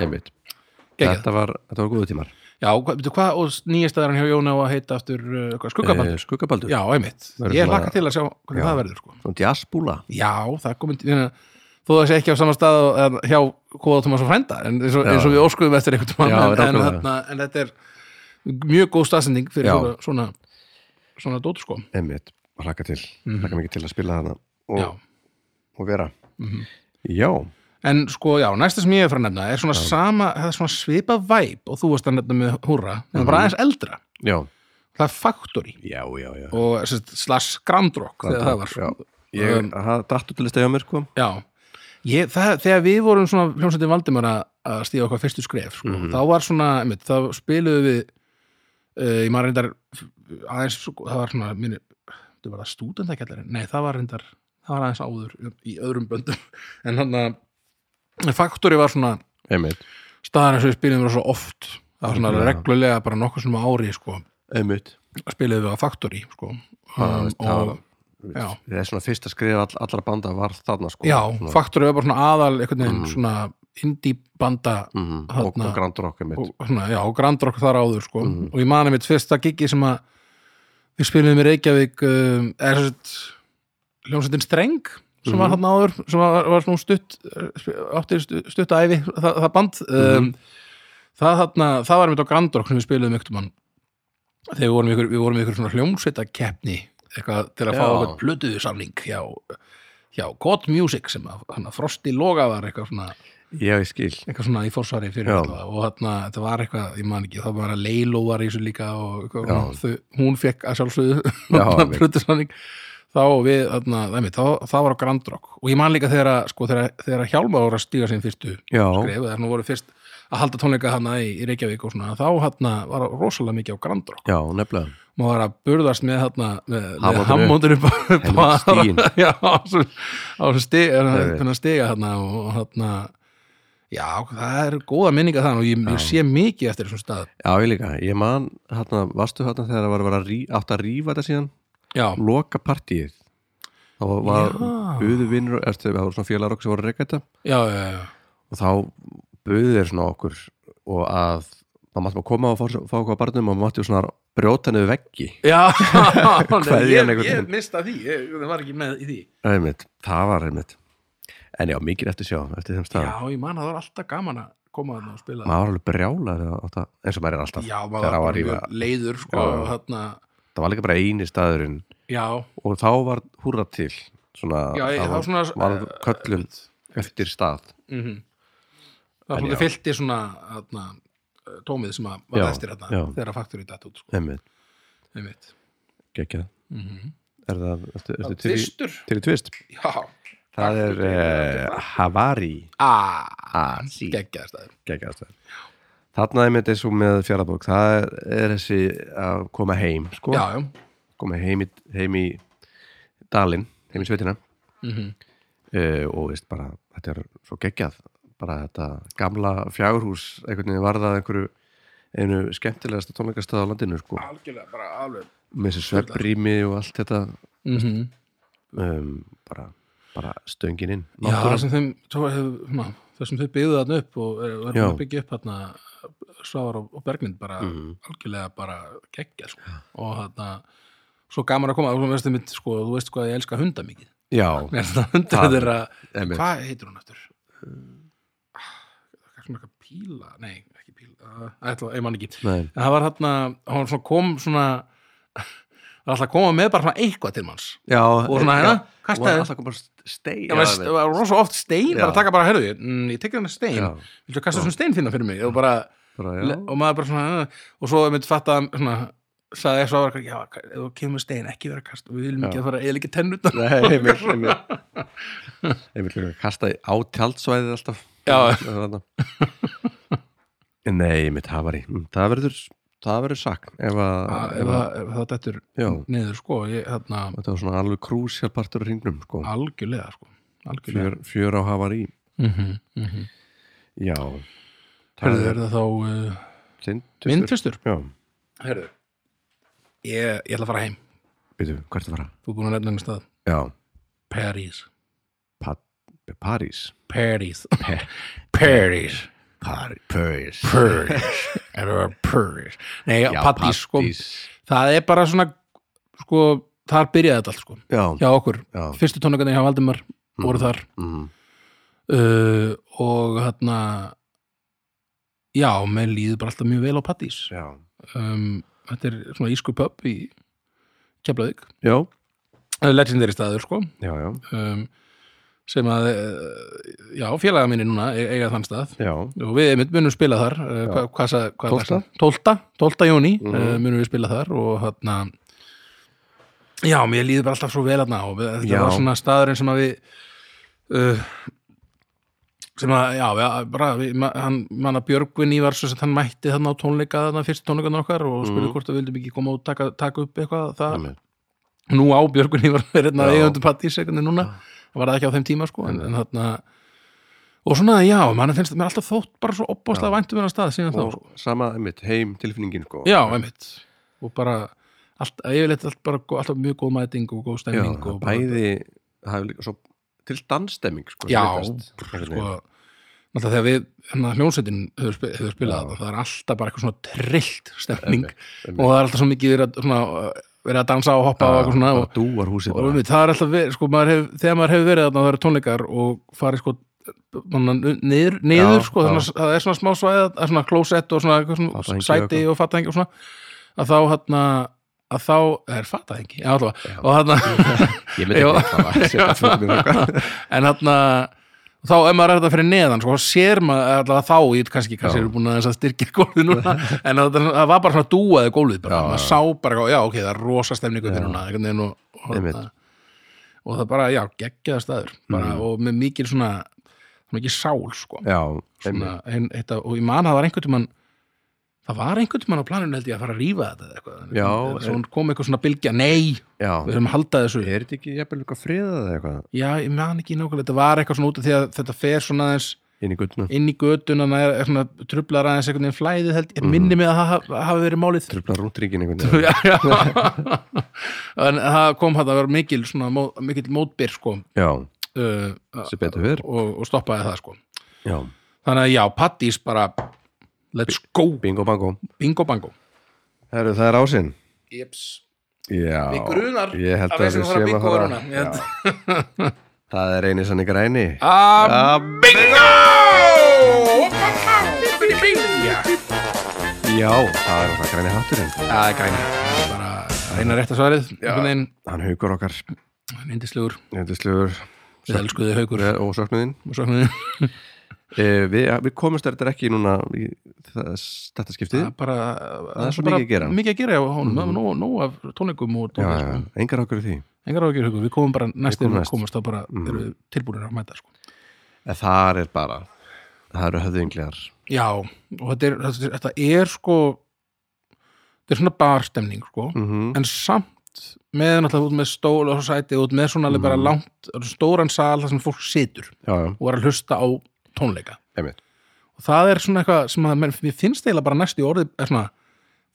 Speaker 2: einmitt,
Speaker 1: Gekið.
Speaker 2: þetta var, þetta var góðu tímar
Speaker 1: Já, hvað, veitu hvað, og nýjastaðarinn hjá Jóna á að heita aftur, uh, hvað, skuggaband?
Speaker 2: Eh, skuggabaldur,
Speaker 1: já, einmitt.
Speaker 2: Verður
Speaker 1: Ég
Speaker 2: svona-
Speaker 1: laka til að sjá hvernig
Speaker 2: Já.
Speaker 1: það verður, sko.
Speaker 2: svona jazzbúla
Speaker 1: Já, það er komin, hérna, þó það sé ekki á sama stað og- en, hjá Kóða Tómas og Frænda, en eins og,
Speaker 2: Já.
Speaker 1: eins og við óskuðum eftir einhvern tímann,
Speaker 2: Já,
Speaker 1: en, en,
Speaker 2: nákvæmlega.
Speaker 1: þarna, en þetta er mjög góð staðsending fyrir
Speaker 2: Já.
Speaker 1: svona, svona, svona dót, sko.
Speaker 2: einmitt, hlaka til, mm hlaka mikið til að spila hana
Speaker 1: Mhm. Já.
Speaker 2: og, og vera
Speaker 1: Mhm.
Speaker 2: já,
Speaker 1: En sko, já, næsta sem ég er frá að nefna er svona sama, það er svona svipa væp og þú varst að nefna með húrra, en það er bara aðeins eldra.
Speaker 2: já,
Speaker 1: Það er Factory
Speaker 2: já, já, já.
Speaker 1: og sérst, slash Grand Rock þegar það var.
Speaker 2: já. ég,
Speaker 1: Um,
Speaker 2: það dattu til að stegja mér sko
Speaker 1: Já. Ég, það, þegar við vorum svona hljómsveitin Valdimar að- að stíða okkar fyrstu skref, sko, þá var svona, einmitt, þá spiluðum við, uh, ég maður reyndar, aðeins, sko, það var svona, minni, það var það stúdendakjallarinn, nei, það var reyndar, það var aðeins áður í öðrum böndum, en hann að Factory var svona,
Speaker 2: einmitt,
Speaker 1: staðar eins og við spilum rosa oft það var svona
Speaker 2: Já.
Speaker 1: reglulega bara nokkur sem ári sko,
Speaker 2: einmitt
Speaker 1: spilum við á Factory sko.
Speaker 2: það,
Speaker 1: um,
Speaker 2: það var-
Speaker 1: og, já,
Speaker 2: það er svona fyrsta skrif all, allra banda var þarna sko
Speaker 1: já
Speaker 2: svona,
Speaker 1: Factory var bara svona aðal einhvern veginn svona indie banda
Speaker 2: mm, og,
Speaker 1: þarna.
Speaker 2: og Grand Rock einmitt
Speaker 1: og svona, já, og Grand Rock þar áður sko. og ég mani mitt fyrsta gigi sem að við spilum í Reykjavík um, er svona hljómsveitin Streng sem var hann áður, sem var, var svona stutt eh, sp- átti stutt, stutt æfi það, það band um, það, þarna, það var einmitt á Grand Rock sem við spiluðum ykkur mann þegar við vorum ykkur, við vorum ykkur svona hljómsveitakeppni eitthvað til að fá
Speaker 2: Já.
Speaker 1: okkur plötuðu samling hjá, hjá God Music sem að, hann að Frosti Loga var eitthvað svona
Speaker 2: já, ég skil
Speaker 1: eitthvað svona í fórsvari fyrir
Speaker 2: Já.
Speaker 1: allavega og þarna, þetta var eitthvað, ég man ekki það var að Leiló var í þessu líka og eitthvað,
Speaker 2: Já.
Speaker 1: hún, þau, hún fekk að
Speaker 2: Já,
Speaker 1: sjálfsögðu
Speaker 2: einmitt.
Speaker 1: plötusamning þá og við, þarna, það, þá, það var á Grand Rock og ég man líka þegar að, sko, þegar, að- þegar að Hjálmar voru að stíga sín fyrstu
Speaker 2: já,
Speaker 1: skref þegar hann voru fyrst að halda tónleika hana í, í Reykjavík og svona, þá hana var rosalega mikið á Grand Rock
Speaker 2: já, nefnilega
Speaker 1: maður var að burðast með þarna með, með
Speaker 2: Hammondinu.
Speaker 1: hammóndinu
Speaker 2: Helvíti stíginn.
Speaker 1: já, á þessu- á þessu stiga
Speaker 2: veit.
Speaker 1: þennan stiga þarna og og þarna já, það er góða minninga þann og ég, ég sé mikið eftir þessum stað
Speaker 2: já, ég líka, ég man hérna, varstu hérna þegar það var, var að rí, átt að rífa þetta síðan
Speaker 1: já,
Speaker 2: loka partíið þá var
Speaker 1: Já.
Speaker 2: buðu vinnur eftir, það voru svona félagar okkur sem voru að reyka þetta
Speaker 1: já, já, já,
Speaker 2: og þá buðu þeir svona okkur og að þá máttum að koma og fá, fá okkur á barnum og máttum svona brjóta niður veggi
Speaker 1: já. Nei,
Speaker 2: Kveðjan
Speaker 1: ég,
Speaker 2: einhvern
Speaker 1: ég
Speaker 2: veginn.
Speaker 1: mista því ég, það var ekki með í því
Speaker 2: einmitt, það var einmitt en já, mikið eftir sjá, eftir þeim stað
Speaker 1: já, ég man að það var alltaf gaman að koma þarna og spila
Speaker 2: maður var alveg brjálaður á þetta, eins og maður er alltaf
Speaker 1: já, maður
Speaker 2: þegar
Speaker 1: var
Speaker 2: á að
Speaker 1: bara
Speaker 2: rífa,
Speaker 1: mjög leiður sko,
Speaker 2: Já, já.
Speaker 1: og þarna,
Speaker 2: það var líka bara eini staðurinn
Speaker 1: já,
Speaker 2: og þá var húrra til svona,
Speaker 1: Já,
Speaker 2: var,
Speaker 1: ég- þá svona-
Speaker 2: var köllun eftir stað
Speaker 1: það
Speaker 2: Mhm. En
Speaker 1: fótti
Speaker 2: já.
Speaker 1: fylgti svona þarna, eh, tómið sem að var
Speaker 2: Já,
Speaker 1: eftir þarna
Speaker 2: já.
Speaker 1: þegar að faktur í datt út sko,
Speaker 2: einmitt,
Speaker 1: einmitt
Speaker 2: geggjað er Mhm. það, ertu, ertu til, í,
Speaker 1: Tvistur
Speaker 2: til í tvist
Speaker 1: Já
Speaker 2: það er uh, Havari
Speaker 1: Ah,
Speaker 2: Asi
Speaker 1: geggjaði staður
Speaker 2: geggjast þarna einmitt eins og með fjaraðbók það er þessi að koma heim sko,
Speaker 1: Já, já
Speaker 2: koma heim í, heim í dalinn, heim í sveitina
Speaker 1: mm
Speaker 2: uh, og veist bara, þetta er svo geggjað bara þetta gamla fjárhús einhvern veginn varðað einhverju einu skemmtilegasta tónleikastöð á landinu sko,
Speaker 1: Algjörlega, bara alveg
Speaker 2: með þessi svefnrými og allt þetta
Speaker 1: mm
Speaker 2: um, bara, bara stöngin inn
Speaker 1: Já, það
Speaker 2: Náttúran-
Speaker 1: sem þeim svo hefur- svona, það sem þau byggðu þarna upp og er- og erum
Speaker 2: Já.
Speaker 1: að byggja upp þarna Svavar og, og Berglind bara
Speaker 2: Mhm.
Speaker 1: algjörlega bara geggja sko. og þarna svo gaman að koma og svo veist mitt, sko, þú veist hvað ég elska hunda mikið
Speaker 2: já,
Speaker 1: Mér finnst það hundar
Speaker 2: Það-
Speaker 1: þeirra
Speaker 2: einmitt.
Speaker 1: hvað heitir hún eftir?
Speaker 2: Um.
Speaker 1: Það er svona eitthvað píla nei, ekki píla, uh, ætla, ég man ekki
Speaker 2: Nei.
Speaker 1: en það var þarna, hann svona kom svona það var alltaf að koma með bara svona eitthvað til manns
Speaker 2: já
Speaker 1: og svona hérna, kastaði
Speaker 2: alltaf koma steig
Speaker 1: Já, veist, það var rosa oft stein, bara
Speaker 2: Já.
Speaker 1: taka bara, herðu, mm, ég tekið hennar stein
Speaker 2: Já.
Speaker 1: viltu að kasta svona stein þína fyrir mig og, bara, le- og maður bara svona "Ah." og svo myndi fatta hann svona sagði ég svo að já, ef þú kemur með stein, ekki vera að kasta við viljum ekki að fara að eða ekki tennut já,
Speaker 2: Nei, einmitt, einmitt. einmitt líka kastaði á tjaldsvæðið alltaf
Speaker 1: Já.
Speaker 2: Þarna. Nei, einmitt hafari Mm, það verður, það verður sakn ef að,
Speaker 1: Ah, ef, að- ef það dættur
Speaker 2: Já.
Speaker 1: niður sko, ég, þarna,
Speaker 2: þetta var svona alveg krúsjálpartur hringnum sko.
Speaker 1: algjörlega sko, algjörlega
Speaker 2: fjör, fjör á hafari
Speaker 1: mm -hmm, mm -hmm.
Speaker 2: Já
Speaker 1: Herðu, er það þá uh,
Speaker 2: Tindustur
Speaker 1: myndfistur?
Speaker 2: Já,
Speaker 1: Herðu, ég, ég ætla að fara heim
Speaker 2: byrju, hvert að fara?
Speaker 1: þú er búin að nefna henni stað,
Speaker 2: Já,
Speaker 1: Paris
Speaker 2: pa París
Speaker 1: Paris Paris
Speaker 2: Par París
Speaker 1: purrs er það bara purrs nei, já, paddís, sko,
Speaker 2: Paddís.
Speaker 1: það er bara svona sko, þar byrjaði þetta allt sko
Speaker 2: Já,
Speaker 1: hjá okkur,
Speaker 2: já
Speaker 1: fyrstu tónleikarnir hjá Valdimar voru þar
Speaker 2: mm.
Speaker 1: uh, og hérna já, mér líður bara alltaf mjög vel á paddís
Speaker 2: Já,
Speaker 1: um, þetta er svona ísku pub í Keflavík,
Speaker 2: já,
Speaker 1: Það er Eh, legendary staður sko
Speaker 2: já, já,
Speaker 1: um, sem að uh, já, félaga minni núna e- eiga þann stað
Speaker 2: já.
Speaker 1: og við einmitt munum spila þar eh, hva, hvað, sa- hvað
Speaker 2: 12.?
Speaker 1: 12. 12. júni mm.
Speaker 2: Mhm.
Speaker 1: munum við spila þar og hérna já, mér líður bara alltaf svo vel hérna og við- þetta
Speaker 2: Já.
Speaker 1: var svona staðurinn sem að við uh, sem að, já, við, bara við, ma- hann, manna Björgvin Ívar sem sagt, hann mætti þarna á tónleika, þarna fyrst tónleikan okkar og
Speaker 2: Mhm.
Speaker 1: spurði hvort að við vildum ekki koma og taka, taka upp eitthvað það,
Speaker 2: Einmitt.
Speaker 1: nú á Björgun Ívar verið
Speaker 2: Já.
Speaker 1: eigundu pattís einhvern veginn núna það var það ekki á þeim tíma sko en, en þarna og svona já, mann finnst mér alltaf þótt bara svo opbáslega væntum hennar stað síðan þá
Speaker 2: og
Speaker 1: sko.
Speaker 2: sama einmitt, heim tilfinningin sko.
Speaker 1: já, einmitt og bara, allt, yfirleitt allt bara gó- alltaf mjög góð mæting og góð
Speaker 2: Já,
Speaker 1: stemming og bara,
Speaker 2: bæði það er líka svo til dansstemming sko,
Speaker 1: já,
Speaker 2: sem myndast.
Speaker 1: sko alltaf þegar við, hérna hljónsetin hefur, spi- hefur spilað þetta, það er alltaf bara eitthvað svona trillt stemming
Speaker 2: Einmitt, einmitt.
Speaker 1: og það er alltaf svo mikið verið að, svona, verið að dansa og hoppa og eitthvað svona og
Speaker 2: bara dúar húsið
Speaker 1: og
Speaker 2: bara
Speaker 1: einmitt, það er alltaf verið, sko, maður hef, þegar maður hefur verið þarna og það eru tónleikar og farið sko manna, niður, niður
Speaker 2: Já,
Speaker 1: sko,
Speaker 2: já.
Speaker 1: þannig að það er svona smá svæði það er svona klósett og svona, eitthvað
Speaker 2: Fatahengi
Speaker 1: svona
Speaker 2: og
Speaker 1: sæti
Speaker 2: eitthvað.
Speaker 1: og fattahengi og svona að þá hann að þá er fattahengi, já allavega og hann
Speaker 2: ég myndi
Speaker 1: Já.
Speaker 2: ekki eitthvað að setja fótum í eitthvað.
Speaker 1: en hann þá ef maður er þetta fyrir neðan sko, þá sér maður allavega þá ég kannski, kannski
Speaker 2: Já.
Speaker 1: eru búin að þess að styrkja gólfið núna en það, það var bara svona dúaði gólfið bara,
Speaker 2: Já,
Speaker 1: maður
Speaker 2: já.
Speaker 1: sá bara, já ok, það er rosa stemningu fyrir núna, einhvern veginn og, og,
Speaker 2: Einmitt.
Speaker 1: þarna- og það bara, já, geggjaða staður bara,
Speaker 2: Mhm.
Speaker 1: og með mikil svona svona mikil sál, sko
Speaker 2: já, einmitt.
Speaker 1: svona, ein, heita, og ég man að það var einhvern tímann það var einhvern tímann á planinu held ég að fara að rífa þetta eða eitthvað,
Speaker 2: Já, e-
Speaker 1: En svo kom eitthvað svona bylgja, nei,
Speaker 2: já,
Speaker 1: við erum að halda þessu
Speaker 2: er þetta ekki jafnvel eitthvað friðað eða eitthvað
Speaker 1: Já, ég man ekki nákvæmlega, þetta var eitthvað svona út af því að þetta fer svona aðeins
Speaker 2: inn í guttuna,
Speaker 1: inn í götuna, það er svona trublar aðeins einhvern veginn flæðið held, ég minni mig að það ha- hafi verið málið
Speaker 2: tröfla rúntringin einhvern veginn
Speaker 1: Já, já En það kom hann að vera mikil svona, mó, mikill mótbyr sko
Speaker 2: já,
Speaker 1: uh,
Speaker 2: sem betur fyrr
Speaker 1: og, og stoppaði það sko
Speaker 2: já,
Speaker 1: Þannig að já, Pattís bara let's go,
Speaker 2: bingo bango
Speaker 1: bingo bango
Speaker 2: Heru, það er ásinn
Speaker 1: Jeps,
Speaker 2: já,
Speaker 1: Mig grunar
Speaker 2: ég held
Speaker 1: að
Speaker 2: að
Speaker 1: við
Speaker 2: við
Speaker 1: séum að fara
Speaker 2: séum að
Speaker 1: bingo
Speaker 2: fara
Speaker 1: núna. Ég held-
Speaker 2: Já. það er eini sannig græni
Speaker 1: ah,
Speaker 2: að
Speaker 1: bingo! Bingo!
Speaker 2: Já, það er það græni hatturinn
Speaker 1: Það er græn bara reyna rétt að svarið einhvern veginn,
Speaker 2: Hann haugur okkar
Speaker 1: neyndislegur,
Speaker 2: Nefndislegur
Speaker 1: við elskuði haukur
Speaker 2: og söknuðinn
Speaker 1: og svo með
Speaker 2: e, við, við komumst þetta ekki núna í þess, þetta skiptið
Speaker 1: það er bara,
Speaker 2: er svo mikið
Speaker 1: bara
Speaker 2: að gera. Mm.
Speaker 1: mikið að gera á honum, það var nóg, nóg af tónleikum og
Speaker 2: Já,
Speaker 1: tónleikum
Speaker 2: sko. já, engar okkur í því
Speaker 1: engar ágjur hugur, við komum bara næst
Speaker 2: komum
Speaker 1: þegar við
Speaker 2: næst.
Speaker 1: komumst þá bara mm. erum við tilbúinir að mæta sko.
Speaker 2: En þar er bara, það eru höfðinglegar
Speaker 1: já, og þetta er, þetta, er- þetta er sko þetta er svona barstemning sko,
Speaker 2: mm -hmm.
Speaker 1: en samt með náttúrulega út með stól og sæti út með svona
Speaker 2: Mm.
Speaker 1: alveg bara langt stóran sal þar sem fólk situr
Speaker 2: Já, já,
Speaker 1: og er að hlusta á tónleika
Speaker 2: einmitt
Speaker 1: og það er svona eitthvað sem að menn, mér finnst eiginlega bara næst í orði er svona,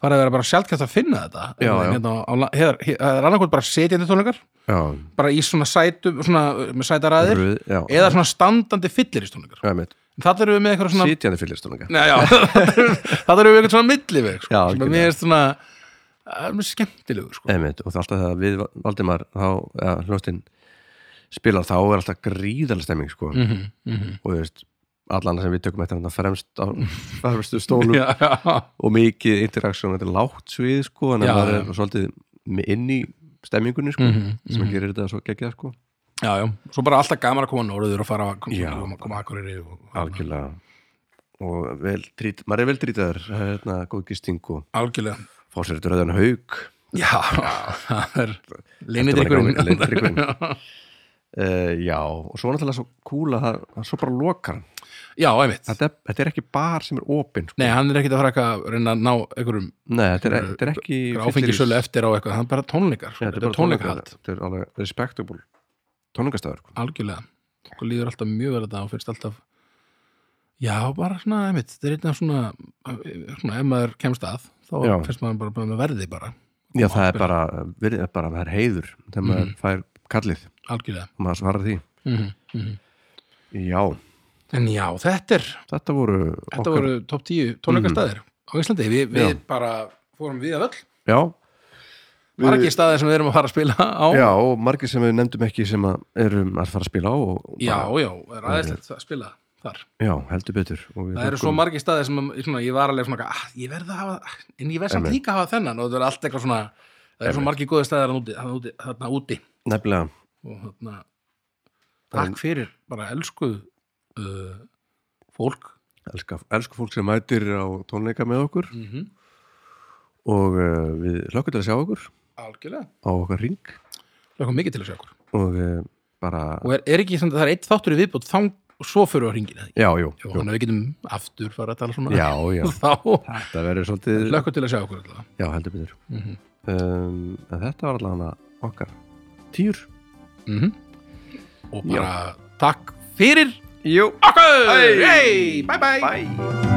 Speaker 1: það er að vera bara sjálfkjast að finna þetta
Speaker 2: Já, já.
Speaker 1: Hérna, á, á, hér, hér, það er annarkvæmt bara setjandi tónleikar
Speaker 2: Já,
Speaker 1: bara í svona sætum, svona með sætaræðir
Speaker 2: röð, já,
Speaker 1: eða svona standandi fylliristónleikar
Speaker 2: já, einmitt
Speaker 1: það erum við með eitthvað svona
Speaker 2: Sitjandi fyllirstúninga
Speaker 1: Nei, já, það erum við eitthvað svona milliveg sko,
Speaker 2: Já,
Speaker 1: sem að
Speaker 2: algjörlega. Eh.
Speaker 1: mér er svona það er mjög skemmtilegur sko.
Speaker 2: Einmitt, og það er alltaf það að við Valdimar þá, ja, hljóstinn spilar þá er alltaf gríðalega stemming sko.
Speaker 1: mm -hmm, mm -hmm.
Speaker 2: og þú veist, allan sem við tökum þetta þarna fremst á fremstu stólum
Speaker 1: Já, já,
Speaker 2: og mikið interaktsjón, þetta er lágt svið sko, en
Speaker 1: Já,
Speaker 2: það
Speaker 1: já.
Speaker 2: er svolítið með inn í stemmingunni sko,
Speaker 1: Mhm,
Speaker 2: sem gerir þetta svo geggjað sko.
Speaker 1: já, já, svo bara alltaf gaman að koma norður og fara að koma,
Speaker 2: Já.
Speaker 1: koma, koma akkurri og,
Speaker 2: algjörlega og vel trýt, maður er vel trýtaður hérna, góð gisting og
Speaker 1: algjörlega
Speaker 2: fá sér þetta rauðan haug
Speaker 1: Já, það er
Speaker 2: Þetta var
Speaker 1: leinidrykkurinn
Speaker 2: ekki alveg leynidrykkurinn. Eh, já, og svo náttúrulega svo kúla að það- að svo bara lokar hann
Speaker 1: Já, einmitt
Speaker 2: þetta, er- þetta er ekki bar sem er opinn sko.
Speaker 1: Nei, hann er ekkit að fara eitthvað að reyna að ná einhverjum
Speaker 2: Nei, þetta er, e- þetta er ekki
Speaker 1: áfengisölu
Speaker 2: fyllir-
Speaker 1: eftir á eitthvað hann er bara tónleikar,
Speaker 2: Já,
Speaker 1: sko. þetta er tónleikahald
Speaker 2: Þetta er alveg respectable tónleikastæður sko.
Speaker 1: Algjörlega, okkur líður alltaf mjög vel þetta og finnst alltaf Já, bara svona, einmitt, þetta er einn af svona, svona ef maður kemst að þá
Speaker 2: Já.
Speaker 1: finnst maður bara, bara með verði bara
Speaker 2: Já, það er bara, verið, er bara það er heiður þegar maður
Speaker 1: Mhm.
Speaker 2: fær kallið
Speaker 1: Algjörlega
Speaker 2: og maður svarar því
Speaker 1: mm
Speaker 2: mhm. Já,
Speaker 1: En já, þetta er
Speaker 2: þetta voru
Speaker 1: þetta voru topp 10 tónleikastæðir á Íslandi, Vi, við bara fórum við að öll,
Speaker 2: Já,
Speaker 1: bara ekki staðir sem við erum að fara að spila á
Speaker 2: já, og margir sem við nefndum ekki sem að erum að fara að spila á og, og
Speaker 1: Já,
Speaker 2: bara,
Speaker 1: já, það er aðeinslegt að spila þar.
Speaker 2: já, heldur betur og við
Speaker 1: Það eru
Speaker 2: lokum-
Speaker 1: svo margi staði sem að- svona, ég var alveg svona, ah, ég verð að hafa, en ég verð samt líka að hafa þennan og það er allt eitthvað svona, það eru svo margi góði staðar þarna úti, þarna úti, þarna úti
Speaker 2: Nefnilega
Speaker 1: og þarna, takk fyrir, bara elskuð uh, fólk.
Speaker 2: elska, elsku fólk sem mætir á tónleika með okkur
Speaker 1: Mm
Speaker 2: og uh, við hlökkum til að sjá okkur
Speaker 1: Algjörlega.
Speaker 2: á okkar ring
Speaker 1: Lökum mikið til að sjá okkur.
Speaker 2: og uh, bara,
Speaker 1: Og er, er ekki, samt að það er eitt þáttur í viðbútt, þá og svo fyrir á hringin, eða ekki?
Speaker 2: já, jú,
Speaker 1: Jó,
Speaker 2: jú.
Speaker 1: þannig að við getum aftur fara að tala svona.
Speaker 2: já, já
Speaker 1: Þá,
Speaker 2: þetta verður svolítið,
Speaker 1: lökum til að sjá okkur allavega.
Speaker 2: já, heldur betur
Speaker 1: Mm
Speaker 2: um, en þetta var allavega okkar týr
Speaker 1: -hmm. Og bara takk fyrir
Speaker 2: Jú,
Speaker 1: okkur! Hey! Bye bye!
Speaker 2: bye